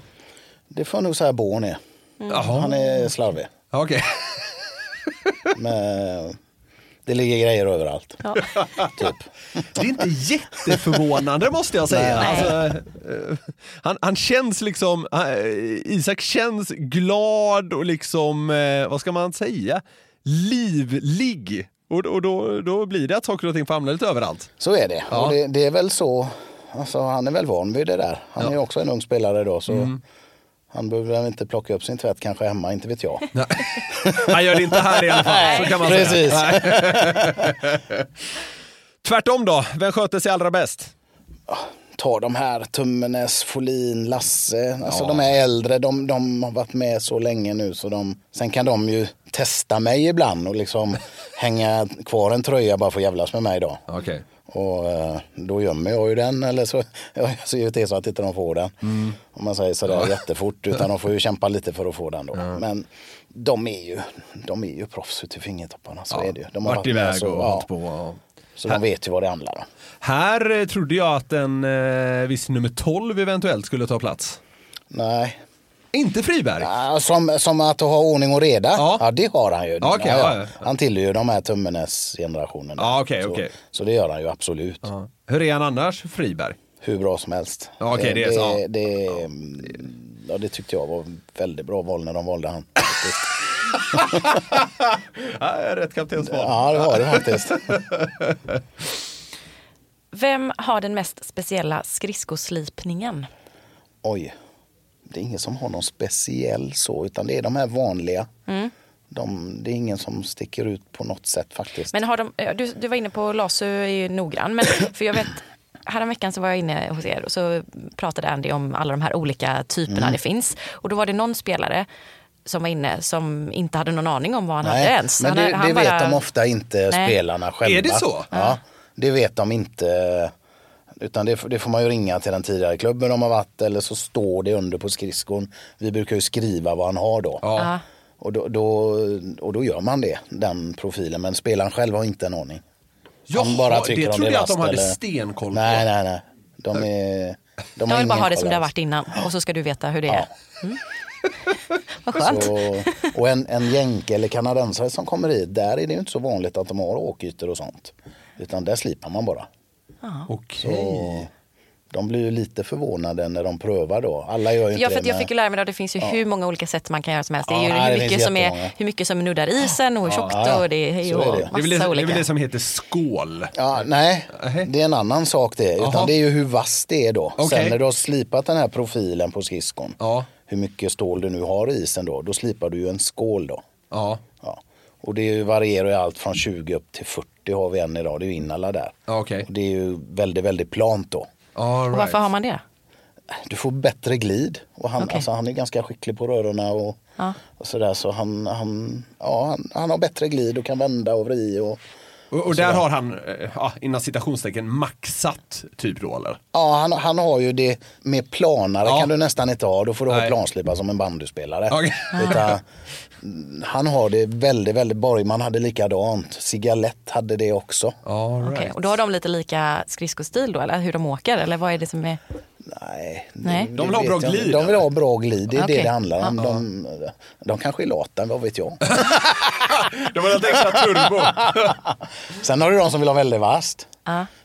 Speaker 4: Det får jag nog säga Born är.
Speaker 3: Jaha,
Speaker 4: Han är slarvig.
Speaker 3: okej.
Speaker 4: Men det ligger grejer överallt.
Speaker 2: Ja.
Speaker 4: Typ.
Speaker 3: Det är inte jätteförvånande måste jag säga.
Speaker 2: Nej.
Speaker 3: Alltså, eh, han, han känns liksom, han- eh, Isak känns glad och liksom, eh, vad ska man säga, livlig. Och, och då, då blir det att saker och ting famlar lite överallt.
Speaker 4: Så är det.
Speaker 3: Ja.
Speaker 4: Och det, det är väl så. Alltså, han är väl van vid det där. Han är ju också en ung spelare då. Så
Speaker 3: Mm.
Speaker 4: Han behöver väl inte plocka upp sin tvätt kanske hemma, inte vet jag.
Speaker 3: Han gör det inte här i alla fall, så kan man
Speaker 4: Precis.
Speaker 3: säga. Nej. Tvärtom då, vem sköter sig allra bäst?
Speaker 4: Ta de här, Tummenes, Folin, Lasse. Alltså de är äldre, de, de har varit med så länge nu så de... Sen kan de ju testa mig ibland och liksom hänga kvar en tröja bara för att jävlas med mig då.
Speaker 3: Okej.
Speaker 4: Och eh, då gömmer jag ju den eller så jag ser ju till så att inte de får den.
Speaker 3: Mm.
Speaker 4: Om man säger sådär jättefort utan de får ju kämpa lite för att få den då. Men de är ju, de är ju proffs ut i fingertopparna, så är det ju. De
Speaker 3: Vart
Speaker 4: med
Speaker 3: iväg
Speaker 4: så,
Speaker 3: och
Speaker 4: ja,
Speaker 3: hållit på. och-
Speaker 4: Så de vet ju vad det handlar om.
Speaker 3: Här eh, trodde jag att en eh, viss nummer 12 eventuellt skulle ta plats.
Speaker 4: Nej.
Speaker 3: Inte Friberg?
Speaker 4: Ah, Som, som att ha ordning och reda,
Speaker 3: Ja.
Speaker 4: ja, det har han ju.
Speaker 3: Ja, okej, ja, ja.
Speaker 4: Han tillhör ju de här Tummenes-generationen.
Speaker 3: Ja, okej,
Speaker 4: så,
Speaker 3: okej.
Speaker 4: så det gör han ju absolut.
Speaker 3: Ja. Hur är han annars, Friberg?
Speaker 4: hur bra som helst. Eh,
Speaker 3: Ja, okej, det är
Speaker 4: det,
Speaker 3: så.
Speaker 4: det, ja, det tyckte jag var väldigt bra val när de valde han.
Speaker 3: rätt kaptensval.
Speaker 4: Ja, det var det faktiskt.
Speaker 2: Vem har den mest speciella skridskoslipningen?
Speaker 4: Oj, det är ingen som har någon speciell så, utan det är de här vanliga. De, det är ingen som sticker ut på något sätt faktiskt.
Speaker 2: Men har de, eh, du, du var inne på Lasu är ju noggrann, men för jag vet Häromveckan så var jag inne hos er och så pratade Andy om alla de här olika typerna
Speaker 4: Mm.
Speaker 2: det finns. Och då var det någon spelare som var inne som inte hade någon aning om vad han hade ens.
Speaker 4: men
Speaker 2: han,
Speaker 4: det,
Speaker 2: han
Speaker 4: det
Speaker 2: bara-
Speaker 4: vet de ofta inte
Speaker 2: Nej.
Speaker 4: spelarna själva.
Speaker 3: Är det så?
Speaker 4: Ja, det vet de inte. Utan det, det får man ju ringa till den tidigare klubben de har varit eller så står det under på skridskon. Vi brukar ju skriva vad han har då.
Speaker 2: Ja.
Speaker 4: Och då, då, och då gör man det, den profilen. Men spelaren själv har inte en aning.
Speaker 3: Jaha,
Speaker 4: Han bara
Speaker 3: det
Speaker 4: tycker om
Speaker 3: trodde jag att de
Speaker 4: last
Speaker 3: hade
Speaker 4: eller-
Speaker 3: stenkoll på.
Speaker 4: Nej, nej, nej. De, är, de
Speaker 2: Jag
Speaker 4: har
Speaker 2: vill bara
Speaker 4: ingen
Speaker 2: ha det som
Speaker 4: koll
Speaker 2: det har
Speaker 4: alls.
Speaker 2: varit innan och så ska du veta hur det är. Mm. Vad
Speaker 4: Alltså,
Speaker 2: skönt.
Speaker 4: Så, och en, en jänke eller kanadensare som kommer hit, där är det ju inte så vanligt att de har åkytor och sånt. Utan där slipar man bara.
Speaker 3: Okej.
Speaker 4: Och de blir ju lite förvånade när de prövar då. Alla gör ju inte
Speaker 2: Ja, för att
Speaker 4: det.
Speaker 2: jag
Speaker 4: men-
Speaker 2: fick ju lära mig att det finns ju hur många olika sätt man kan göra som helst. Det är
Speaker 4: Ja,
Speaker 2: ju
Speaker 4: nej,
Speaker 2: hur,
Speaker 4: det
Speaker 2: mycket
Speaker 4: finns
Speaker 2: som är,
Speaker 4: jättemånga.
Speaker 2: hur mycket som nuddar isen och hur tjockt
Speaker 4: Ja,
Speaker 2: och det är hej
Speaker 4: så
Speaker 2: och
Speaker 4: är det.
Speaker 2: massa
Speaker 3: Det är, väl det, det är
Speaker 2: olika.
Speaker 3: väl det som heter skål?
Speaker 4: Ja, nej, det är en annan sak det. Utan
Speaker 3: Jaha.
Speaker 4: det är ju hur vass det är då.
Speaker 3: Okej.
Speaker 4: Sen när du har slipat den här profilen på skridskon,
Speaker 3: Ja.
Speaker 4: hur mycket stål du nu har i isen då, då slipar du ju en skål då.
Speaker 3: Ja,
Speaker 4: Ja. Och det är ju- varierar ju allt från 20 upp till 40 har vi en idag, det är ju Innala där.
Speaker 3: Ja, okej.
Speaker 4: Och det är ju väldigt, väldigt plant då.
Speaker 3: all
Speaker 2: Och
Speaker 3: right.
Speaker 2: varför har man det?
Speaker 4: Du får bättre glid och han,
Speaker 2: Okej.
Speaker 4: alltså, han är ganska skicklig på rörorna och, och sådär så han, han, ja, han, han har bättre glid och kan vända och vri och
Speaker 3: Och, och där har han, eh, ja, innan citationstecken, maxat typ då eller?
Speaker 4: Ja, han, han har ju det med planare
Speaker 3: Ja.
Speaker 4: kan du nästan inte ha. Då får du ha
Speaker 3: Nej.
Speaker 4: planslipa som en bandyspelare.
Speaker 3: Okej.
Speaker 4: Utan, han har det väldigt, väldigt Borgman hade likadant. Cigalett hade det också.
Speaker 3: All right.
Speaker 2: Okej, Och då har de lite lika skridskostil då, eller hur de åker? Eller vad är det som är...
Speaker 4: Nej.
Speaker 2: Nej.
Speaker 3: De vill ha
Speaker 4: det
Speaker 3: bra
Speaker 4: vet jag
Speaker 3: glid,
Speaker 4: inte. De vill
Speaker 3: eller?
Speaker 4: ha bra glid, det är
Speaker 2: Okej.
Speaker 4: det det handlar om. De, de kanske är lata, vad vet jag.
Speaker 3: Det var lite extra turbo.
Speaker 4: Sen har du de som vill ha väldigt vasst.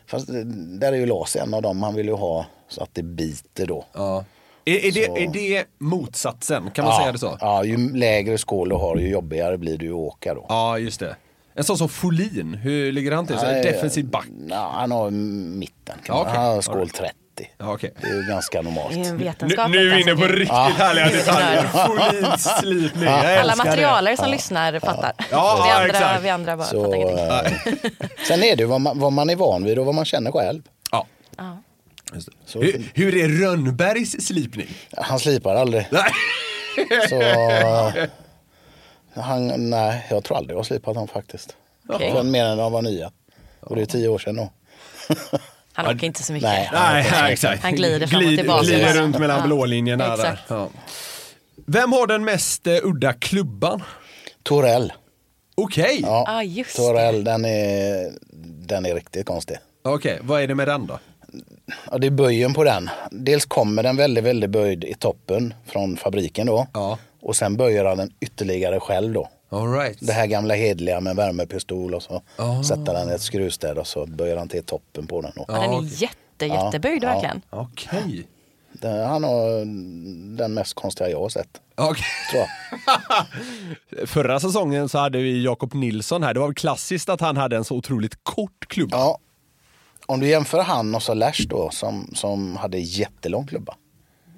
Speaker 4: Fast eh, där är ju Lars en av dem, han vill ju ha så att det biter då.
Speaker 3: är, är, det, är det motsatsen? Kan man säga det så?
Speaker 4: Ja, ju lägre skål du har ju jobbigare blir du att åka då.
Speaker 3: Ja, just det. En sån som Folin, hur ligger han till? Så
Speaker 4: Nej,
Speaker 3: defensiv back?
Speaker 4: Ja, han har mitten. Kan
Speaker 3: Ja,
Speaker 4: man-
Speaker 3: okej.
Speaker 4: Han har skål 30.
Speaker 3: Ja, okej.
Speaker 4: Det är ju ganska
Speaker 2: Det är ju en
Speaker 4: normalt.
Speaker 2: vetenskap. alltså.
Speaker 3: härliga
Speaker 2: detaljer.
Speaker 3: Folins slipning, jag
Speaker 2: Alla materialer som lyssnar fattar.
Speaker 3: Ja,
Speaker 2: vi,
Speaker 3: ja,
Speaker 2: andra,
Speaker 3: exakt.
Speaker 2: vi andra bara
Speaker 4: Så,
Speaker 2: fattar ingenting.
Speaker 4: eh, sen är det ju vad man, vad man är van vid och vad man känner själv.
Speaker 3: Ja.
Speaker 4: Så,
Speaker 3: Hur, hur är Rönnbergs slipning?
Speaker 4: han slipar aldrig.
Speaker 3: Nej.
Speaker 4: Så, han, nej, jag tror aldrig jag har slipat dem faktiskt.
Speaker 2: Okej.
Speaker 4: För mer än de var nya. Och det är tio år sedan då.
Speaker 2: Han åker inte så mycket.
Speaker 4: Nej.
Speaker 3: Nej, ja, exakt.
Speaker 2: Han glider fram och
Speaker 3: Glid-
Speaker 2: tillbaka.
Speaker 3: Glider runt mellan
Speaker 2: Ja,
Speaker 3: blålinjerna. Där.
Speaker 2: exakt.
Speaker 3: Ja. Vem har den mest eh, udda klubban?
Speaker 4: Torell.
Speaker 3: Okej,
Speaker 4: Ja,
Speaker 2: Ah, just det.
Speaker 4: Torell, den är, den är riktigt konstig.
Speaker 3: Okej, vad är det med den då?
Speaker 4: Ja, det är böjen på den. Dels kommer den väldigt, väldigt böjd i toppen från fabriken då.
Speaker 3: Ja.
Speaker 4: Och sen böjer han den ytterligare själv då.
Speaker 3: All right.
Speaker 4: Det här gamla hedliga med värmepistol och så
Speaker 3: Ah.
Speaker 4: sätter han ett skruvstäd och så böjer han till toppen på den. Då.
Speaker 2: Ja, den är
Speaker 3: okej.
Speaker 2: jätte, jätteböjd verkligen.
Speaker 3: Okej.
Speaker 4: Det- Han har den mest konstiga jag har sett.
Speaker 3: Okej.
Speaker 4: Tror jag.
Speaker 3: Förra säsongen så hade vi Jakob Nilsson här. Det var väl klassiskt att han hade en så otroligt kort klubba.
Speaker 4: Ja. Om du jämför han och så Lash då som, som hade jättelång klubba.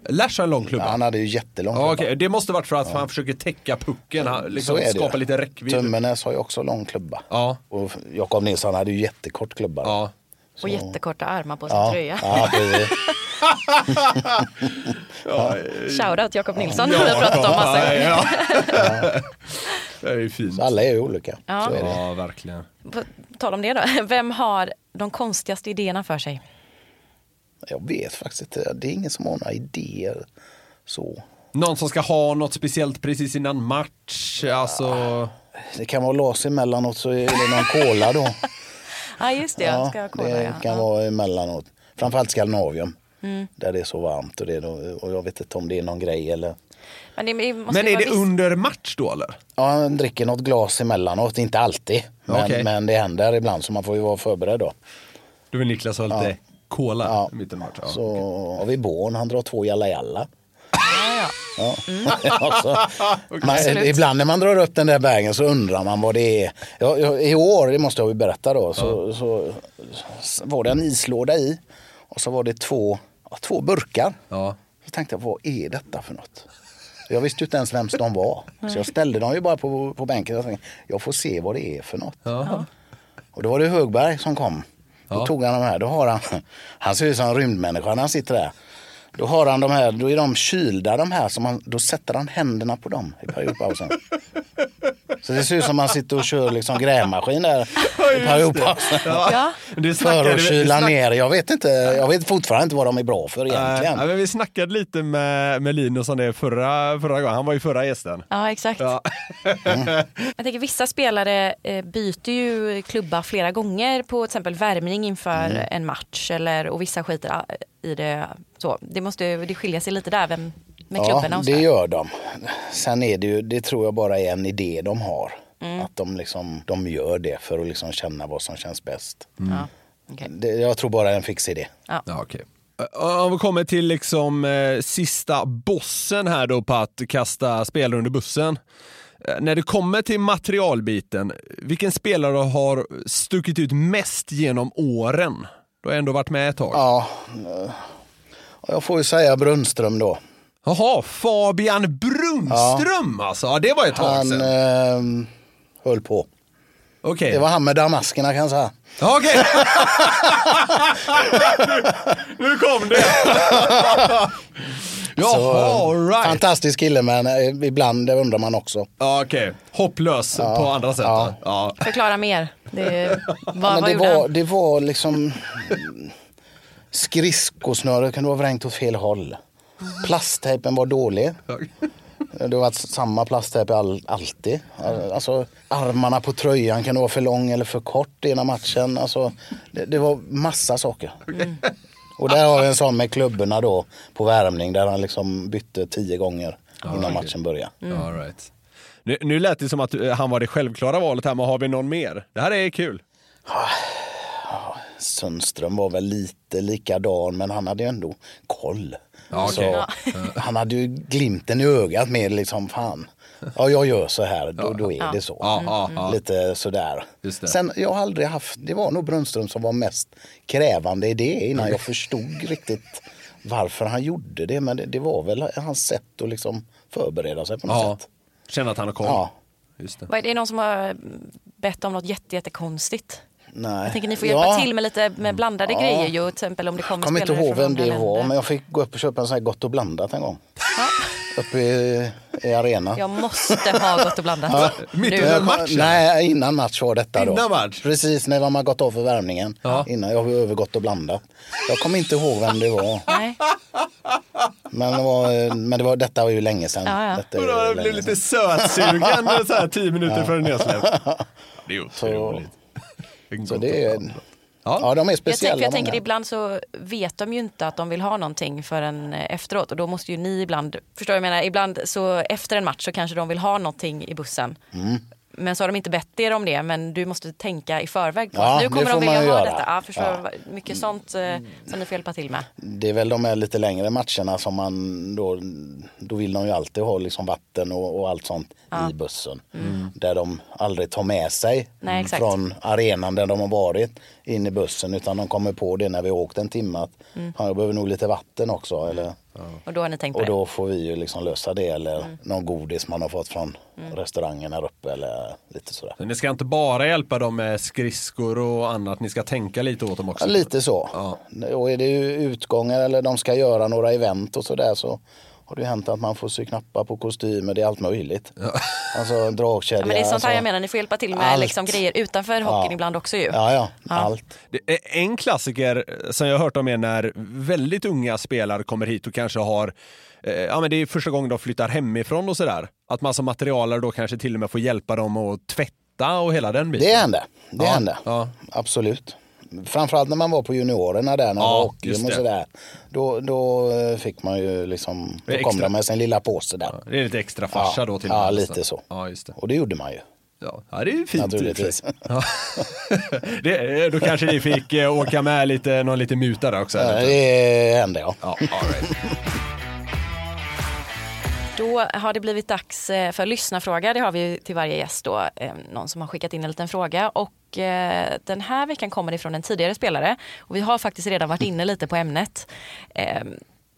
Speaker 3: Lash har en lång klubba.
Speaker 4: Han hade ju jättelång
Speaker 3: Ja,
Speaker 4: klubba.
Speaker 3: okej. Det måste varit för att han försöker täcka pucken, han liksom
Speaker 4: ju.
Speaker 3: skapa lite räckvidd.
Speaker 4: Tömmernes har ju också lång klubba.
Speaker 3: Ja.
Speaker 4: Och Jakob Nilsson hade ju jättekort klubba. då.
Speaker 3: Ja.
Speaker 2: Och jättekorta armar på sin
Speaker 4: Ja,
Speaker 2: tröja.
Speaker 4: ja, precis.
Speaker 2: Shoutout Jakob Nilsson har vi pratat om massa gånger.
Speaker 3: ja. Det är ju fint.
Speaker 4: Så alla är ju olika.
Speaker 2: Ja.
Speaker 4: Så är det.
Speaker 3: Ja, verkligen.
Speaker 2: På tal om det då, vem har de konstigaste idéerna för sig?
Speaker 4: Jag vet faktiskt inte. Det är ingen som har några idéer. Så.
Speaker 3: Någon som ska ha något speciellt precis innan match. Alltså,
Speaker 4: Det kan vara las emellanåt så är det någon cola då.
Speaker 2: Ja just det, jag ska kolla.
Speaker 4: det
Speaker 2: ja.
Speaker 4: kan
Speaker 2: ja. Mm.
Speaker 4: vara emellanåt. Framförallt Skandinavium. Där det är så varmt och, det är då, och jag vet inte om det är någon grej eller.
Speaker 2: Men, det, det måste
Speaker 3: men
Speaker 2: ju
Speaker 3: är
Speaker 2: vara
Speaker 3: det
Speaker 2: viss-
Speaker 3: under match då eller?
Speaker 4: Ja, han dricker något glas emellanåt, inte alltid. Men,
Speaker 3: Okej.
Speaker 4: men det händer ibland så man får ju vara förberedd då.
Speaker 3: Du vill Niklas ha lite cola
Speaker 4: Ja.
Speaker 3: i mitten av matchen.
Speaker 4: Så har vi Born, han drar två jalla jalla.
Speaker 2: Ja,
Speaker 4: Ja. Alltså, man, ibland när man drar upp den där vägen så undrar man vad det är. Ja, ja, I år, det måste jag ju berätta då, så, så, så var det en islåda i och så var det två, ja, två burkar.
Speaker 3: Ja.
Speaker 4: Så tänkte jag, vad är detta för något? Jag visste ju inte ens vems de var. Så jag ställde dem ju bara på, på bänken och tänkte, jag får se vad det är för något. Och då var det Högberg som kom. Då tog han de här. Då har han, han ser ut som en rymdmänniska när han sitter där. Då har han de här, då är de kylda de här, som han, då sätter han händerna på dem i periodpausen. Så det ser ut som han sitter och kör liksom grävmaskin där i periodpausen.
Speaker 2: ja.
Speaker 3: Det
Speaker 4: För att
Speaker 3: vi- vi
Speaker 4: kyla
Speaker 3: snack-
Speaker 4: ner. Jag vet, inte, jag vet fortfarande inte vad de är bra för
Speaker 3: Nej,
Speaker 4: egentligen.
Speaker 3: men vi snackade lite med, med Linus om det förra, förra gången. Han var ju förra gästen.
Speaker 2: ja exakt.
Speaker 3: Ja.
Speaker 4: Mm.
Speaker 2: Jag tänker vissa spelare eh, byter ju klubba flera gånger på till exempel värmning inför
Speaker 4: Mm.
Speaker 2: en match eller, och vissa skiter a- i det. Så, det, måste, det skiljer sig lite där vem, med klubborna och
Speaker 4: det
Speaker 2: sådär.
Speaker 4: gör de. Sen är det ju, det tror jag bara är en idé de har.
Speaker 2: Mm.
Speaker 4: Att de, liksom, de gör det för att liksom känna vad som känns bäst.
Speaker 2: Ja. okej.
Speaker 4: Det, jag tror bara det är en fix idé.
Speaker 3: Ja, okej. Ö- Om vi kommer till liksom eh, sista bossen här då på att kasta spelare under bussen. Eh, När det kommer till materialbiten, vilken spelare har stuckit ut mest genom åren? Du har ändå varit med ett tag.
Speaker 4: Ja, eh, jag får ju säga Brunnström då.
Speaker 3: Jaha, Fabian Brunnström alltså. Ja, det var ett tag
Speaker 4: Han
Speaker 3: sedan.
Speaker 4: eh, höll på.
Speaker 3: Okej.
Speaker 4: Det var han med damaskerna kan jag säga.
Speaker 3: Ja, Okej. nu, nu kom det.
Speaker 4: Så,
Speaker 3: Jaha,
Speaker 4: eh,
Speaker 3: all right.
Speaker 4: Fantastisk kille men eh, ibland det undrar man också.
Speaker 3: Ja, Okej, hopplös på andra sätt.
Speaker 4: ja.
Speaker 3: då. Ja.
Speaker 2: Förklara mer. Det, vad
Speaker 4: Men
Speaker 2: vad
Speaker 4: det,
Speaker 2: gjorde
Speaker 4: var,
Speaker 2: han?
Speaker 4: det var liksom skridskosnöret kunde vara vrängt åt fel håll. Plasttejpen var dålig. Det var samma plasttejp all, alltid. Alltså, armarna på tröjan kan vara för lång eller för kort i ena matchen. Alltså, det, det var massa saker. Och där har vi en sån med klubborna då på värmning där han liksom bytte tio gånger innan matchen började.
Speaker 3: All right. nu, nu lät det som att eh, han var det självklara valet här, men har vi någon mer? Det här är kul.
Speaker 4: Sundström var väl lite likadan men han hade ju ändå koll.
Speaker 3: Ja,
Speaker 4: Så,
Speaker 3: okej.
Speaker 4: Han hade ju glimten i ögat med liksom fan, ja jag gör så här, då, då är det så.
Speaker 3: Ja, ja, ja.
Speaker 4: Lite sådär.
Speaker 3: Just det.
Speaker 4: Sen jag har aldrig haft, det var nog Brunnström som var mest krävande i det innan jag förstod riktigt varför han gjorde det. Men det, det var väl hans sätt att liksom förbereda sig på något
Speaker 3: Ja.
Speaker 4: sätt.
Speaker 3: Känner att han har koll.
Speaker 4: Ja.
Speaker 3: Just det.
Speaker 2: Vad Är det någon som har bett om något jätte, jättekonstigt?
Speaker 4: Nej.
Speaker 2: Jag tänker ni får hjälpa
Speaker 4: Ja. Mm.
Speaker 2: till med lite med blandade
Speaker 4: Ja.
Speaker 2: grejer ju, till exempel om det kommer
Speaker 4: kommer inte
Speaker 2: spelare
Speaker 4: ihåg
Speaker 2: från
Speaker 4: vem
Speaker 2: andra
Speaker 4: det var,
Speaker 2: länder.
Speaker 4: men jag fick gå upp och köpa en sån här Gott och blandat en gång. Uppe i, i arenan.
Speaker 2: Jag måste ha gott och blandat.
Speaker 3: Mitt
Speaker 2: Nu.
Speaker 3: under
Speaker 4: Jag kom-
Speaker 3: matchen?
Speaker 4: Nej, innan match var detta då.
Speaker 3: Innan match?
Speaker 4: Precis, när de har gått av för värmningen. Innan jag har övergått och blandat. Jag kommer inte ihåg vem det var.
Speaker 2: Nej.
Speaker 4: Men, det var, men det var, detta var ju länge sedan.
Speaker 2: Ja, ja.
Speaker 4: Detta är
Speaker 3: Och
Speaker 4: ju
Speaker 3: då har jag blivit
Speaker 4: länge
Speaker 3: lite
Speaker 4: sedan.
Speaker 3: sötsugen så här tio minuter före nedsläpp. Det är otroligt.
Speaker 4: Så det är,
Speaker 3: Ja.
Speaker 4: ja.
Speaker 2: Jag,
Speaker 4: de är
Speaker 2: tänker,
Speaker 4: speciella.
Speaker 2: för jag tänker
Speaker 4: många.
Speaker 2: ibland så vet de ju inte att de vill ha någonting förrän eh, efteråt och då måste ju ni ibland, förstår du vad jag menar, ibland så efter en match så kanske de vill ha någonting i bussen.
Speaker 4: Mm.
Speaker 2: Men så har de inte bett er om det men du måste tänka i förväg på
Speaker 4: Ja,
Speaker 2: att nu
Speaker 4: det
Speaker 2: kommer de
Speaker 4: får
Speaker 2: vilja ha
Speaker 4: man ju göra.
Speaker 2: detta. Ja, förstår
Speaker 4: Ja.
Speaker 2: du? Mycket sånt eh, som ni får hjälpa till med.
Speaker 4: Det är väl de här lite längre matcherna som man då, då vill de ju alltid ha liksom vatten och, och allt sånt i bussen. Där de aldrig tar med sig
Speaker 2: Mm. Nej, exakt.
Speaker 4: från arenan där de har varit in i bussen utan de kommer på det när vi har åkt en timme att
Speaker 2: Mm.
Speaker 4: "Fan, jag behöver nog lite vatten också. Eller,
Speaker 2: Och då har ni tänkt på
Speaker 4: Mm. och
Speaker 2: det.
Speaker 4: då får vi ju liksom lösa det eller
Speaker 2: Mm.
Speaker 4: någon godis man har fått från restaurangen här uppe eller lite sådär.
Speaker 3: Men ni ska inte bara hjälpa dem med skridskor och annat, ni ska tänka lite åt dem också.
Speaker 4: Ja, lite så.
Speaker 3: Ja.
Speaker 4: Och är det ju utgångar eller de ska göra några event och sådär så har det ju hänt att man får sy knappar på kostymer, det är allt möjligt. Alltså dragkedja.
Speaker 2: Ja, men det är sånt här
Speaker 4: alltså-
Speaker 2: jag menar, ni får hjälpa till med
Speaker 4: Allt.
Speaker 2: liksom, grejer utanför hockeyn ibland också ju.
Speaker 4: Ja, ja, allt.
Speaker 3: Det är en klassiker eh, som jag har hört om är när väldigt unga spelare kommer hit och kanske har eh, Ja, men det är första gången de flyttar hemifrån och sådär. Att man som materialare då kanske till och med får hjälpa dem att tvätta och hela den biten.
Speaker 4: Det hände, det
Speaker 3: Ja,
Speaker 4: hände.
Speaker 3: ja.
Speaker 4: Absolut. Framförallt när man var på juniorerna där, när
Speaker 3: Ja,
Speaker 4: man var
Speaker 3: just
Speaker 4: hockeym och
Speaker 3: det.
Speaker 4: sådär. Då, då eh, fick man ju liksom,
Speaker 3: Det är
Speaker 4: då kom
Speaker 3: extra.
Speaker 4: de med sin lilla påse där.
Speaker 3: Det är lite extra farsa
Speaker 4: Ja,
Speaker 3: då till och
Speaker 4: ja
Speaker 3: med
Speaker 4: lite
Speaker 3: nästan.
Speaker 4: så.
Speaker 3: Ja, just det.
Speaker 4: Och det gjorde man ju.
Speaker 3: Ja, ja, det är ju fint. i och för sig.
Speaker 4: Naturligtvis.
Speaker 3: Ja. det, då kanske ni fick eh, åka med lite, någon lite muta där också. eller?
Speaker 4: Det hände ja.
Speaker 3: Ja, all right.
Speaker 2: Då har det blivit dags eh, för lyssnarfråga. Det har vi ju till varje gäst då, eh, någon som har skickat in en liten fråga. Och eh, den här veckan kommer det från en tidigare spelare. Och vi har faktiskt redan varit inne lite på ämnet. Eh,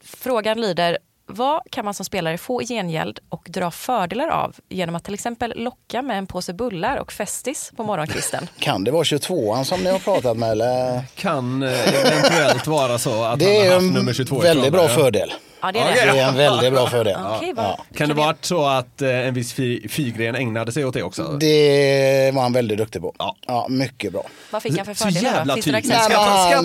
Speaker 2: Frågan lyder, vad kan man som spelare få i gengäld och dra fördelar av genom att till exempel locka med en påse bullar och Festis på morgonkvisten?
Speaker 4: Kan det vara 22an som ni har pratat med eller?
Speaker 3: Kan eh, eventuellt vara så att
Speaker 4: Det
Speaker 3: han
Speaker 4: är
Speaker 3: har haft
Speaker 4: en
Speaker 3: nummer 22
Speaker 4: väldigt
Speaker 3: ifrån
Speaker 4: bra
Speaker 3: dig, ja.
Speaker 4: fördel.
Speaker 2: Ja, det är
Speaker 4: Det
Speaker 2: det.
Speaker 4: är en väldigt bra fördel.
Speaker 2: Okej, vad-
Speaker 3: Kan det vara så att eh, en viss fi- Figren ägnade sig åt det också?
Speaker 4: Det var han väldigt duktig på.
Speaker 3: Ja.
Speaker 4: ja mycket bra.
Speaker 2: Vad fick han för
Speaker 3: Så
Speaker 2: fördelar? då?
Speaker 3: jävla
Speaker 2: Finns det några
Speaker 3: typiskt.
Speaker 2: exempel?
Speaker 3: Ska jag ta-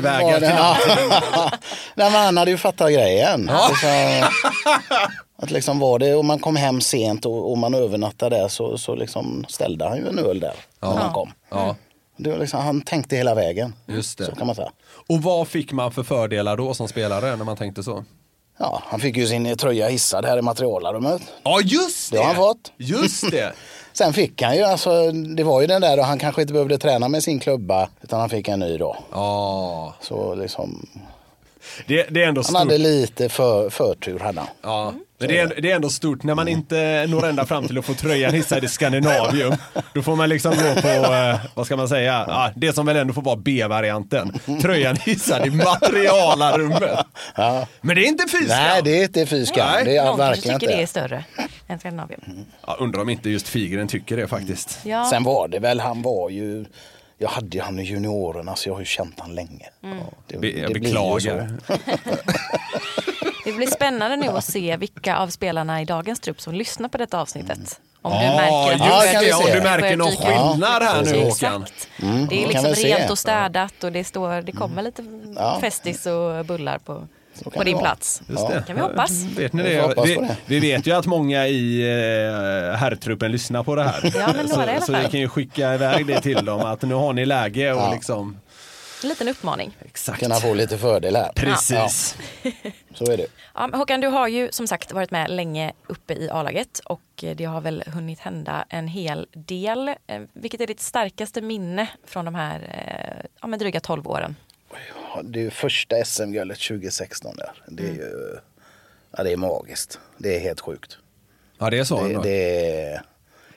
Speaker 3: ska jag ta
Speaker 4: Nej, men han
Speaker 3: genvägar
Speaker 4: var- var-
Speaker 3: till
Speaker 4: ja. Nej, men han hade ju fattat grejen. Liksom, att liksom var det och man kom hem sent och, och man övernattade där så, så liksom ställde han ju en öl där när han kom.
Speaker 3: Ja,
Speaker 4: Det var liksom, han tänkte hela vägen.
Speaker 3: just
Speaker 4: Så
Speaker 3: det.
Speaker 4: kan man säga.
Speaker 3: Och vad fick man för fördelar då som spelare när man tänkte så?
Speaker 4: Ja, han fick ju sin tröja hissad här i materialrummet.
Speaker 3: Ja, just det!
Speaker 4: Det har han fått.
Speaker 3: Just det!
Speaker 4: Sen fick han ju, alltså, det var ju den där och han kanske inte behövde träna med sin klubba utan han fick en ny då.
Speaker 3: Ja,
Speaker 4: Så liksom,
Speaker 3: det, det är ändå
Speaker 4: han
Speaker 3: stort.
Speaker 4: hade lite för, förtur hade han.
Speaker 3: Ja. Mm. Men det, är, det är ändå stort när man inte når ända fram till att få tröjan hissad i Skandinavium. Då får man liksom gå på, eh, vad ska man säga, ja, det som väl ändå får vara B-varianten. Tröjan hissad i materialarummet. Men det är inte fy
Speaker 4: Nej,
Speaker 3: skam.
Speaker 4: det är inte fy skam.
Speaker 3: Nej.
Speaker 4: Det är jag
Speaker 2: Någon kanske
Speaker 4: verkligen
Speaker 2: tycker det är
Speaker 4: inte. Mm.
Speaker 2: större än Skandinavien.
Speaker 3: Ja, undrar om inte just Figren tycker det faktiskt.
Speaker 2: Ja.
Speaker 4: Sen var det väl, han var ju, jag hade ju han i juniorerna så jag har ju känt han länge.
Speaker 2: Mm.
Speaker 4: Ja, det-
Speaker 3: Be- jag
Speaker 4: det blir ju
Speaker 3: beklagar.
Speaker 4: så.
Speaker 2: Det blir spännande nu att se vilka av spelarna i dagens trupp som lyssnar på detta avsnittet. Om du
Speaker 3: Ja,
Speaker 2: märker att
Speaker 3: just
Speaker 4: Mm. Ja,
Speaker 2: börjar-
Speaker 4: kan vi
Speaker 3: det. Om
Speaker 4: se.
Speaker 3: du märker någon
Speaker 2: börjar dyka upp.
Speaker 3: skillnad här nu
Speaker 4: precis. Mm,
Speaker 3: Håkan.
Speaker 2: Exakt. Det är
Speaker 4: kan väl
Speaker 2: liksom
Speaker 4: se. Mm.
Speaker 2: rent och städat och det, står, det kommer lite Festis och bullar på,
Speaker 4: kan
Speaker 2: på
Speaker 4: det
Speaker 2: din
Speaker 4: vara.
Speaker 2: plats.
Speaker 3: Just det.
Speaker 2: Kan vi hoppas.
Speaker 3: Vet ni
Speaker 4: Vi får
Speaker 3: det?
Speaker 4: hoppas
Speaker 3: Vi,
Speaker 4: på det.
Speaker 3: vi vet ju att många i eh, herrtruppen lyssnar på det här.
Speaker 2: Ja, men några i alla
Speaker 3: så, så vi
Speaker 2: fall.
Speaker 3: kan ju skicka iväg det till dem att nu har ni läge och
Speaker 4: Ja.
Speaker 3: liksom
Speaker 2: En liten uppmaning.
Speaker 3: Exakt.
Speaker 4: Kunna få lite fördel här.
Speaker 3: Precis.
Speaker 4: Ja, så är det.
Speaker 2: Ja, men Håkan, du har ju som sagt varit med länge uppe i A-laget och eh, det har väl hunnit hända en hel del. Eh, Vilket är ditt starkaste minne från de här eh, ja, men dryga 12 åren?
Speaker 4: Ja, Det är ju första SM-guldet 2016 där. Det är ju, ja, det är magiskt. Det är helt sjukt.
Speaker 3: Ja, det är så
Speaker 4: Det,
Speaker 3: ändå.
Speaker 4: det är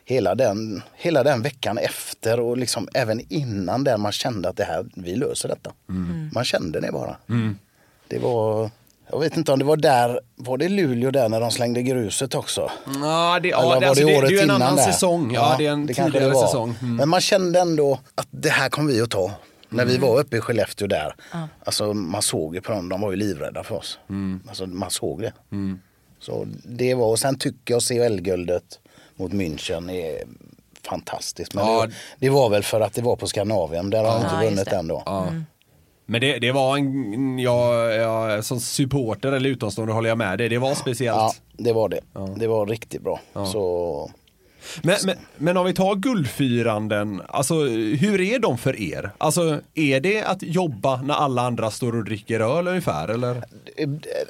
Speaker 4: hela den, hela den veckan efter och liksom även innan där man kände att det här, vi löser detta. Man kände det bara. Det var Jag vet inte om det var där, var det Luleå där när de slängde gruset också?
Speaker 3: Ja, det,
Speaker 4: Eller
Speaker 3: ja,
Speaker 4: var
Speaker 3: det, alltså, det, det är ju en
Speaker 4: innan
Speaker 3: annan
Speaker 4: där?
Speaker 3: säsong. Ja, det är en
Speaker 4: kanske
Speaker 3: tidigare
Speaker 4: det var.
Speaker 3: säsong. Mm.
Speaker 4: Men man kände ändå att det här kommer vi att ta. När vi var uppe i Skellefteå där, alltså man såg ju på dem, de var ju livrädda för oss.
Speaker 3: Mm.
Speaker 4: Alltså man såg det. Så det var, och sen tycker jag CHL-guldet mot München är fantastiskt. Men
Speaker 3: Ja.
Speaker 4: det, det var väl för att det var på Skandinavien, där har de
Speaker 2: Ja,
Speaker 4: inte
Speaker 2: just
Speaker 4: vunnit
Speaker 2: det.
Speaker 4: ändå.
Speaker 3: Men det, det var en, jag, jag, som supporter eller utomstående håller jag med dig, det var speciellt.
Speaker 4: Ja, det var det. Det var riktigt bra. Så
Speaker 3: Men, men, men om vi tar guldfiranden, alltså hur är de för er? Alltså är det att jobba när alla andra står och dricker öl ungefär eller?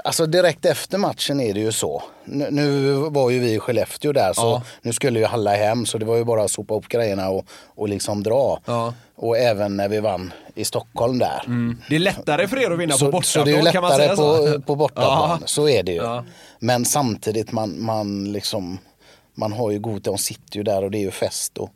Speaker 4: Alltså direkt efter matchen är det ju så. Nu, nu var ju vi i Skellefteå där så
Speaker 3: Ja.
Speaker 4: nu skulle ju alla hem så det var ju bara att sopa upp grejerna och, och liksom dra.
Speaker 3: Ja.
Speaker 4: Och även när vi vann i Stockholm där.
Speaker 3: Det är lättare för er att vinna på
Speaker 4: Så,
Speaker 3: bortaplan
Speaker 4: så det är ju
Speaker 3: kan man säga
Speaker 4: lättare
Speaker 3: så?
Speaker 4: på, på bortaplan,
Speaker 3: Ja.
Speaker 4: så är det ju.
Speaker 3: Ja.
Speaker 4: Men samtidigt man, man liksom man har ju god, de sitter ju där och det är ju fest och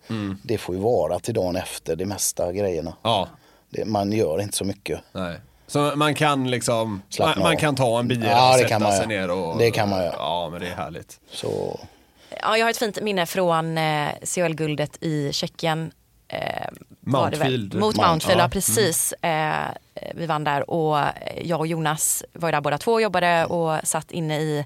Speaker 4: det får ju vara till dagen efter det mesta grejerna.
Speaker 3: Mm. Ja,
Speaker 4: Det, man gör inte så mycket.
Speaker 3: nej. Så man kan liksom,
Speaker 4: Slappna
Speaker 3: man, man
Speaker 4: av.
Speaker 3: kan ta en bira
Speaker 4: Ja,
Speaker 3: och
Speaker 4: det
Speaker 3: sätta
Speaker 4: kan man
Speaker 3: sig
Speaker 4: göra.
Speaker 3: ner och...
Speaker 4: Det kan man göra.
Speaker 3: Ja, men det är härligt.
Speaker 4: Så
Speaker 2: Ja, jag har ett fint minne från eh, CHL-guldet i Tjeckien. Eh, var det väl?
Speaker 3: Mountfield.
Speaker 2: Mot
Speaker 3: Mount-
Speaker 2: Mountfield,
Speaker 3: ja.
Speaker 4: Mm.
Speaker 2: ja precis. Eh, vi vann där och jag och Jonas var ju där båda två och jobbade och satt inne i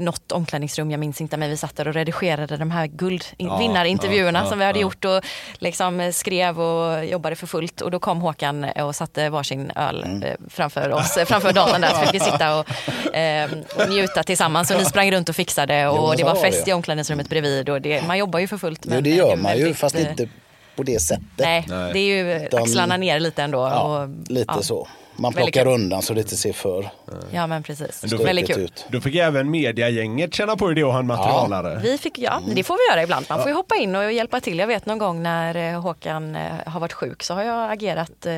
Speaker 2: något omklädningsrum, jag minns inte, men vi satt där och redigerade de här guldvinnarintervjuerna
Speaker 3: ja, ja,
Speaker 2: som vi hade
Speaker 3: ja.
Speaker 2: gjort och liksom skrev och jobbade för fullt. Och då kom Håkan och satte varsin öl
Speaker 4: Mm.
Speaker 2: eh, framför oss, eh, framför datorn där, så fick vi sitta och, eh, och njuta tillsammans. Och ni sprang runt och fixade
Speaker 4: Jo,
Speaker 2: och
Speaker 4: men
Speaker 2: det
Speaker 4: så
Speaker 2: var
Speaker 4: var det
Speaker 2: fest i
Speaker 4: ju.
Speaker 2: omklädningsrummet bredvid. Och det, man jobbar ju för fullt.
Speaker 4: jo,
Speaker 2: men
Speaker 4: det gör
Speaker 2: är
Speaker 4: man ju
Speaker 2: väldigt,
Speaker 4: fast
Speaker 2: eh,
Speaker 4: inte på det sättet.
Speaker 2: Nej,
Speaker 3: Nej.
Speaker 2: det är ju
Speaker 4: Utan-
Speaker 2: axlarna ner lite ändå.
Speaker 4: Ja,
Speaker 2: och,
Speaker 4: lite
Speaker 2: ja.
Speaker 4: så. Man
Speaker 2: Väldigt
Speaker 4: plockar
Speaker 2: kul.
Speaker 4: undan så det inte ser för
Speaker 2: Ja, men precis.
Speaker 3: Men då-
Speaker 2: Väldigt
Speaker 4: stökigt
Speaker 2: kul.
Speaker 4: ut.
Speaker 3: Då fick även mediagänget känna på hur det och han materialare.
Speaker 2: Vi fick, ja,
Speaker 4: Mm.
Speaker 2: det får vi göra ibland. Man får ju hoppa in och hjälpa till. Jag vet någon gång när eh, Håkan eh, har varit sjuk så har jag agerat eh,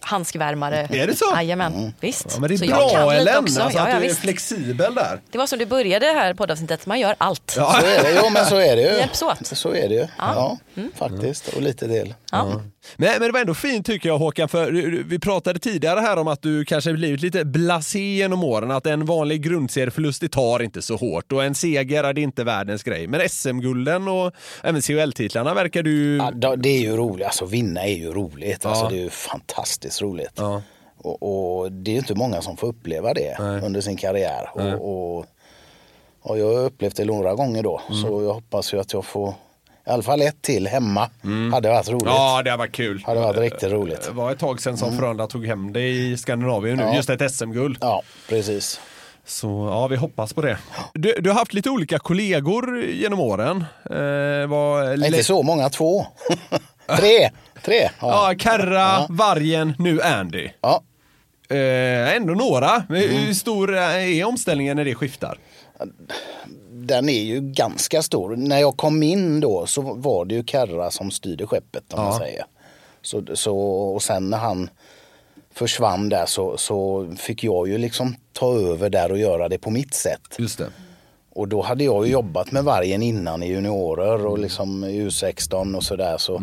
Speaker 2: handskvärmare.
Speaker 3: Är det så?
Speaker 2: Jajamän,
Speaker 4: Mm.
Speaker 2: visst.
Speaker 3: Ja, men det är
Speaker 2: så jag
Speaker 3: bra
Speaker 2: kan lite
Speaker 3: Ellen,
Speaker 2: också.
Speaker 3: alltså,
Speaker 2: ja,
Speaker 3: att
Speaker 2: ja,
Speaker 3: du är
Speaker 2: visst.
Speaker 3: flexibel där.
Speaker 2: Det var som du började här poddavsnittet, man gör allt.
Speaker 4: Så är det, jo men så är det ju.
Speaker 2: hjälps åt. Mm.
Speaker 4: Så är det ju, ja, faktiskt. Och lite till.
Speaker 2: Ja.
Speaker 4: Mm.
Speaker 3: Men, men det var ändå fint tycker jag Håkan, för du- du- vi pratade tidigare här om att du kanske blivit lite blasé genom åren, att en vanlig grundserieförlust det tar inte så hårt och en seger är det inte världens grej. Men SM-gulden och även CHL-titlarna verkar du...
Speaker 4: Ja, då- det är ju roligt, alltså vinna är ju roligt. Alltså, det är ju fantastiskt roligt. Och, och det är ju inte många som får uppleva det under sin karriär. Och, och, och jag har upplevt det några gånger då. Så jag hoppas ju att jag får i alla fall ett till hemma. Hade varit roligt.
Speaker 3: Ja, det var kul.
Speaker 4: Hade varit riktigt roligt. Mm.
Speaker 3: Det var ett tag sedan som Frölunda tog hem det i Skandinavien nu,
Speaker 4: Ja.
Speaker 3: just ett SM-guld.
Speaker 4: Ja, precis.
Speaker 3: Så ja, vi hoppas på det. Du, du har haft lite olika kollegor genom åren. Eh, var
Speaker 4: Inte så många, två. Tre. Tre.
Speaker 3: Ja, Kerra, Vargen, nu Andy.
Speaker 4: Ja.
Speaker 3: Eh, ändå några. Men
Speaker 4: Mm.
Speaker 3: Hur stor är omställningen när det skiftar?
Speaker 4: den är ju ganska stor. När jag kom in då så var det ju Kerra som styrde skeppet om man säger. Så, så, och sen när han försvann där så, så fick jag ju liksom ta över där och göra det på mitt sätt.
Speaker 3: Just det.
Speaker 4: Och då hade jag ju jobbat med vargen innan i juniorer och liksom i U16 och sådär. Så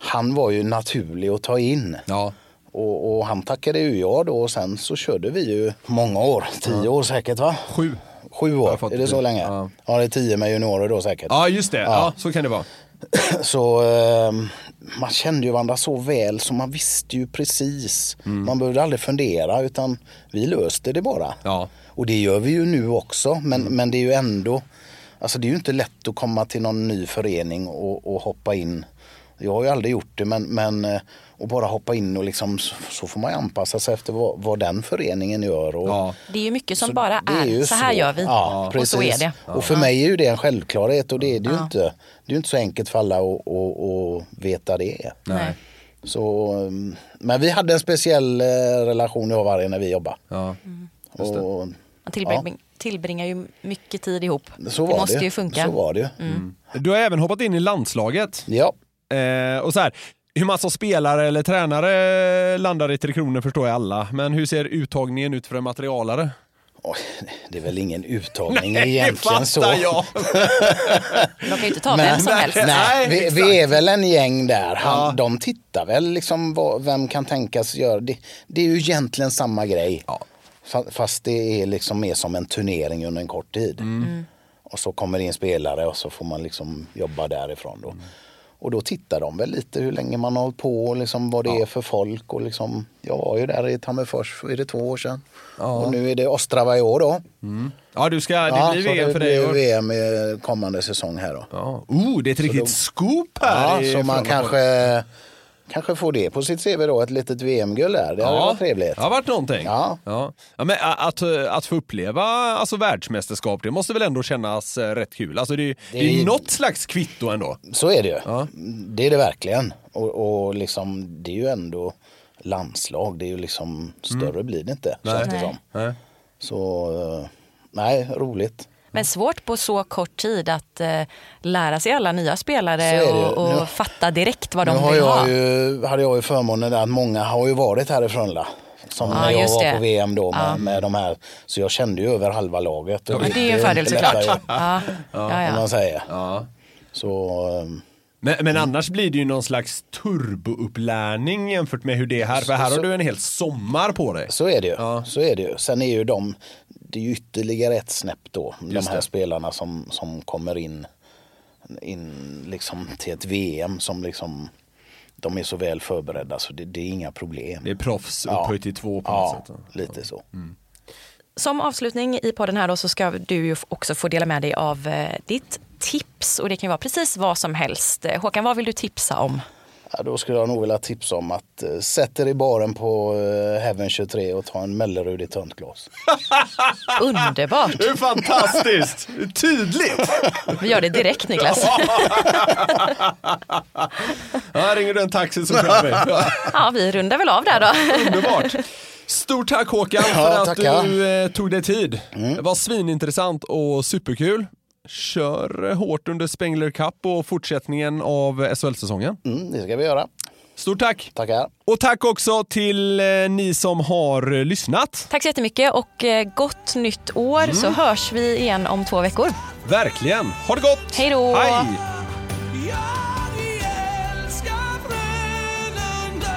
Speaker 4: han var ju naturlig att ta in.
Speaker 3: Ja.
Speaker 4: Och, och han tackade ju jag då och sen så körde vi ju många år, tio år säkert va?
Speaker 3: Sju.
Speaker 4: Sju
Speaker 3: Jag har
Speaker 4: år,
Speaker 3: fått
Speaker 4: är det så
Speaker 3: det.
Speaker 4: länge?
Speaker 3: Ja.
Speaker 4: Ja. det är tio med juniorer då säkert.
Speaker 3: Ja, just det. Ja.
Speaker 4: Ja.
Speaker 3: så kan det vara.
Speaker 4: Så ehm, man kände ju varandra så väl så man visste ju precis.
Speaker 3: Mm.
Speaker 4: Man behövde aldrig fundera utan vi löste det bara.
Speaker 3: Ja.
Speaker 4: Och det gör vi ju nu också men, men det är ju ändå, alltså det är ju inte lätt att komma till någon ny förening och, och hoppa in. Jag har ju aldrig gjort det men, men eh, och bara hoppa in och liksom så, så får man ju anpassa sig efter vad, vad den föreningen gör. Och,
Speaker 3: Ja.
Speaker 2: Det är ju mycket som
Speaker 4: så
Speaker 2: bara
Speaker 4: det
Speaker 2: är,
Speaker 4: ju
Speaker 2: så här gör vi
Speaker 4: Ja,
Speaker 2: och så är
Speaker 4: precis.
Speaker 2: det.
Speaker 4: Och för mig är ju det en självklarhet och det är det ju inte. Det är ju inte så enkelt för alla att, att, att veta det.
Speaker 2: Nej.
Speaker 4: Så, um, men vi hade en speciell eh, relation jag och varje när vi jobbade.
Speaker 3: Ja.
Speaker 4: Och,
Speaker 2: Man tillbring, tillbringar ju mycket tid ihop.
Speaker 4: så var
Speaker 2: det måste
Speaker 4: det.
Speaker 2: ju funka. Mm.
Speaker 4: Så var det ju.
Speaker 3: Du har även hoppat in i landslaget.
Speaker 4: Ja.
Speaker 3: Eh, och så här, hur man som spelare eller tränare landar i Tre Kronor förstår jag alla. Men hur ser uttagningen ut för en materialare? Eh,
Speaker 4: Oj, det är väl ingen uttagning
Speaker 3: det fattar
Speaker 4: egentligen så.
Speaker 3: jag.
Speaker 2: De kan ju inte ta vem som
Speaker 4: nej,
Speaker 2: helst.
Speaker 3: Nej,
Speaker 4: Nej, vi,
Speaker 3: exakt.
Speaker 4: vi är väl en gäng där. Han, De tittar väl liksom vad, vem kan tänkas göra. Det, det är ju egentligen samma grej.
Speaker 3: Ja.
Speaker 4: Fa- Fast det är liksom mer som en turnering under en kort tid.
Speaker 3: Mm.
Speaker 4: Och så kommer det in spelare och så får man liksom jobba därifrån
Speaker 3: Mm.
Speaker 4: då. Och då tittar de väl lite hur länge man har hållit på och liksom vad det är för folk. Och liksom, jag var ju där i Tammerfors, är det två år sedan? Och nu är det Ostrava i år då.
Speaker 3: Ja, du ska, det blir
Speaker 4: så
Speaker 3: VM
Speaker 4: det
Speaker 3: för dig.
Speaker 4: blir
Speaker 3: och-
Speaker 4: VM i kommande säsong här då.
Speaker 3: Ja. Oh, det är ett riktigt scoop här.
Speaker 4: Ja,
Speaker 3: i
Speaker 4: så man
Speaker 3: Frölunda.
Speaker 4: kanske, kanske får det på sitt CV då, ett litet VM-guld där. Det hade varit trevligt.
Speaker 3: Det har varit någonting.
Speaker 4: Ja.
Speaker 3: Ja. Ja, men a- att, eh, att få uppleva alltså, världsmästerskap, det måste väl ändå kännas eh, rätt kul? Alltså, det, är ju- det är ju något slags kvitto ändå.
Speaker 4: Så är det ju. Det är det verkligen. Och, och liksom, det är ju ändå landslag. Det är ju liksom, större blir det inte. känns det som. Så, eh, nej, roligt.
Speaker 8: Men svårt på så kort tid att eh, lära sig alla nya
Speaker 4: Så är
Speaker 8: spelare
Speaker 4: det ju.
Speaker 8: och, och
Speaker 4: Nu-
Speaker 8: fatta direkt vad
Speaker 4: nu
Speaker 8: de
Speaker 4: har
Speaker 8: vill
Speaker 4: jag
Speaker 8: ha.
Speaker 4: ju, hade jag ju förmånen där att många har ju varit härifrån. La. Som
Speaker 8: Ja,
Speaker 4: när jag
Speaker 8: just
Speaker 4: var
Speaker 8: det.
Speaker 4: på VM då med, med de här. Så jag kände ju över halva laget. Och
Speaker 8: Men det är ju en
Speaker 4: inte
Speaker 8: fördel
Speaker 4: lätta
Speaker 8: såklart.
Speaker 4: ju,
Speaker 8: Ja. Ja,
Speaker 4: Om
Speaker 8: ja.
Speaker 4: man säger. Så, eh,
Speaker 3: Men, men annars blir det ju någon slags turboupplärning jämfört med hur det är här. För här har du en hel sommar på dig.
Speaker 4: Så är det ju. Så är det ju. Sen är ju de, det är ju ytterligare ett snäpp då. de här
Speaker 3: det.
Speaker 4: spelarna som, som kommer in, in liksom till ett VM som liksom, de är så väl förberedda så det, det är inga problem.
Speaker 3: Det är proffs
Speaker 4: Ja.
Speaker 3: upphöjt i två på något
Speaker 4: ja,
Speaker 3: sätt. Mm.
Speaker 4: lite så.
Speaker 2: Som avslutning i podden här då så ska du ju också få dela med dig av eh, ditt tips och det kan ju vara precis vad som helst. Eh, Håkan, vad vill du tipsa om?
Speaker 4: Ja, då skulle jag nog vilja tipsa om att eh, sätt er i baren på eh, Heaven 23 och ta en Mellerud i tömt glas.
Speaker 2: Underbart!
Speaker 3: Det är fantastiskt! Tydligt!
Speaker 2: Vi gör det direkt Niklas.
Speaker 3: Här ringer du en taxi så kör vi.
Speaker 2: Ja, vi rundar väl av där då.
Speaker 3: Underbart! Stort tack Håkan för
Speaker 4: Ja,
Speaker 3: att
Speaker 4: tackar. Mm.
Speaker 3: du eh, tog dig tid. Det var svinintressant och superkul. Kör eh, hårt under Spengler Cup och fortsättningen av eh, SHL-säsongen.
Speaker 4: Mm, det ska vi göra.
Speaker 3: Stort tack!
Speaker 4: Tackar.
Speaker 3: Och tack också till eh, ni som har eh, lyssnat.
Speaker 2: Tack så jättemycket och eh, gott nytt år
Speaker 4: Mm.
Speaker 2: så hörs vi igen om två veckor.
Speaker 3: Verkligen! Ha det gott!
Speaker 2: Hej då.
Speaker 3: Hej!
Speaker 1: Jag älskar Frölunda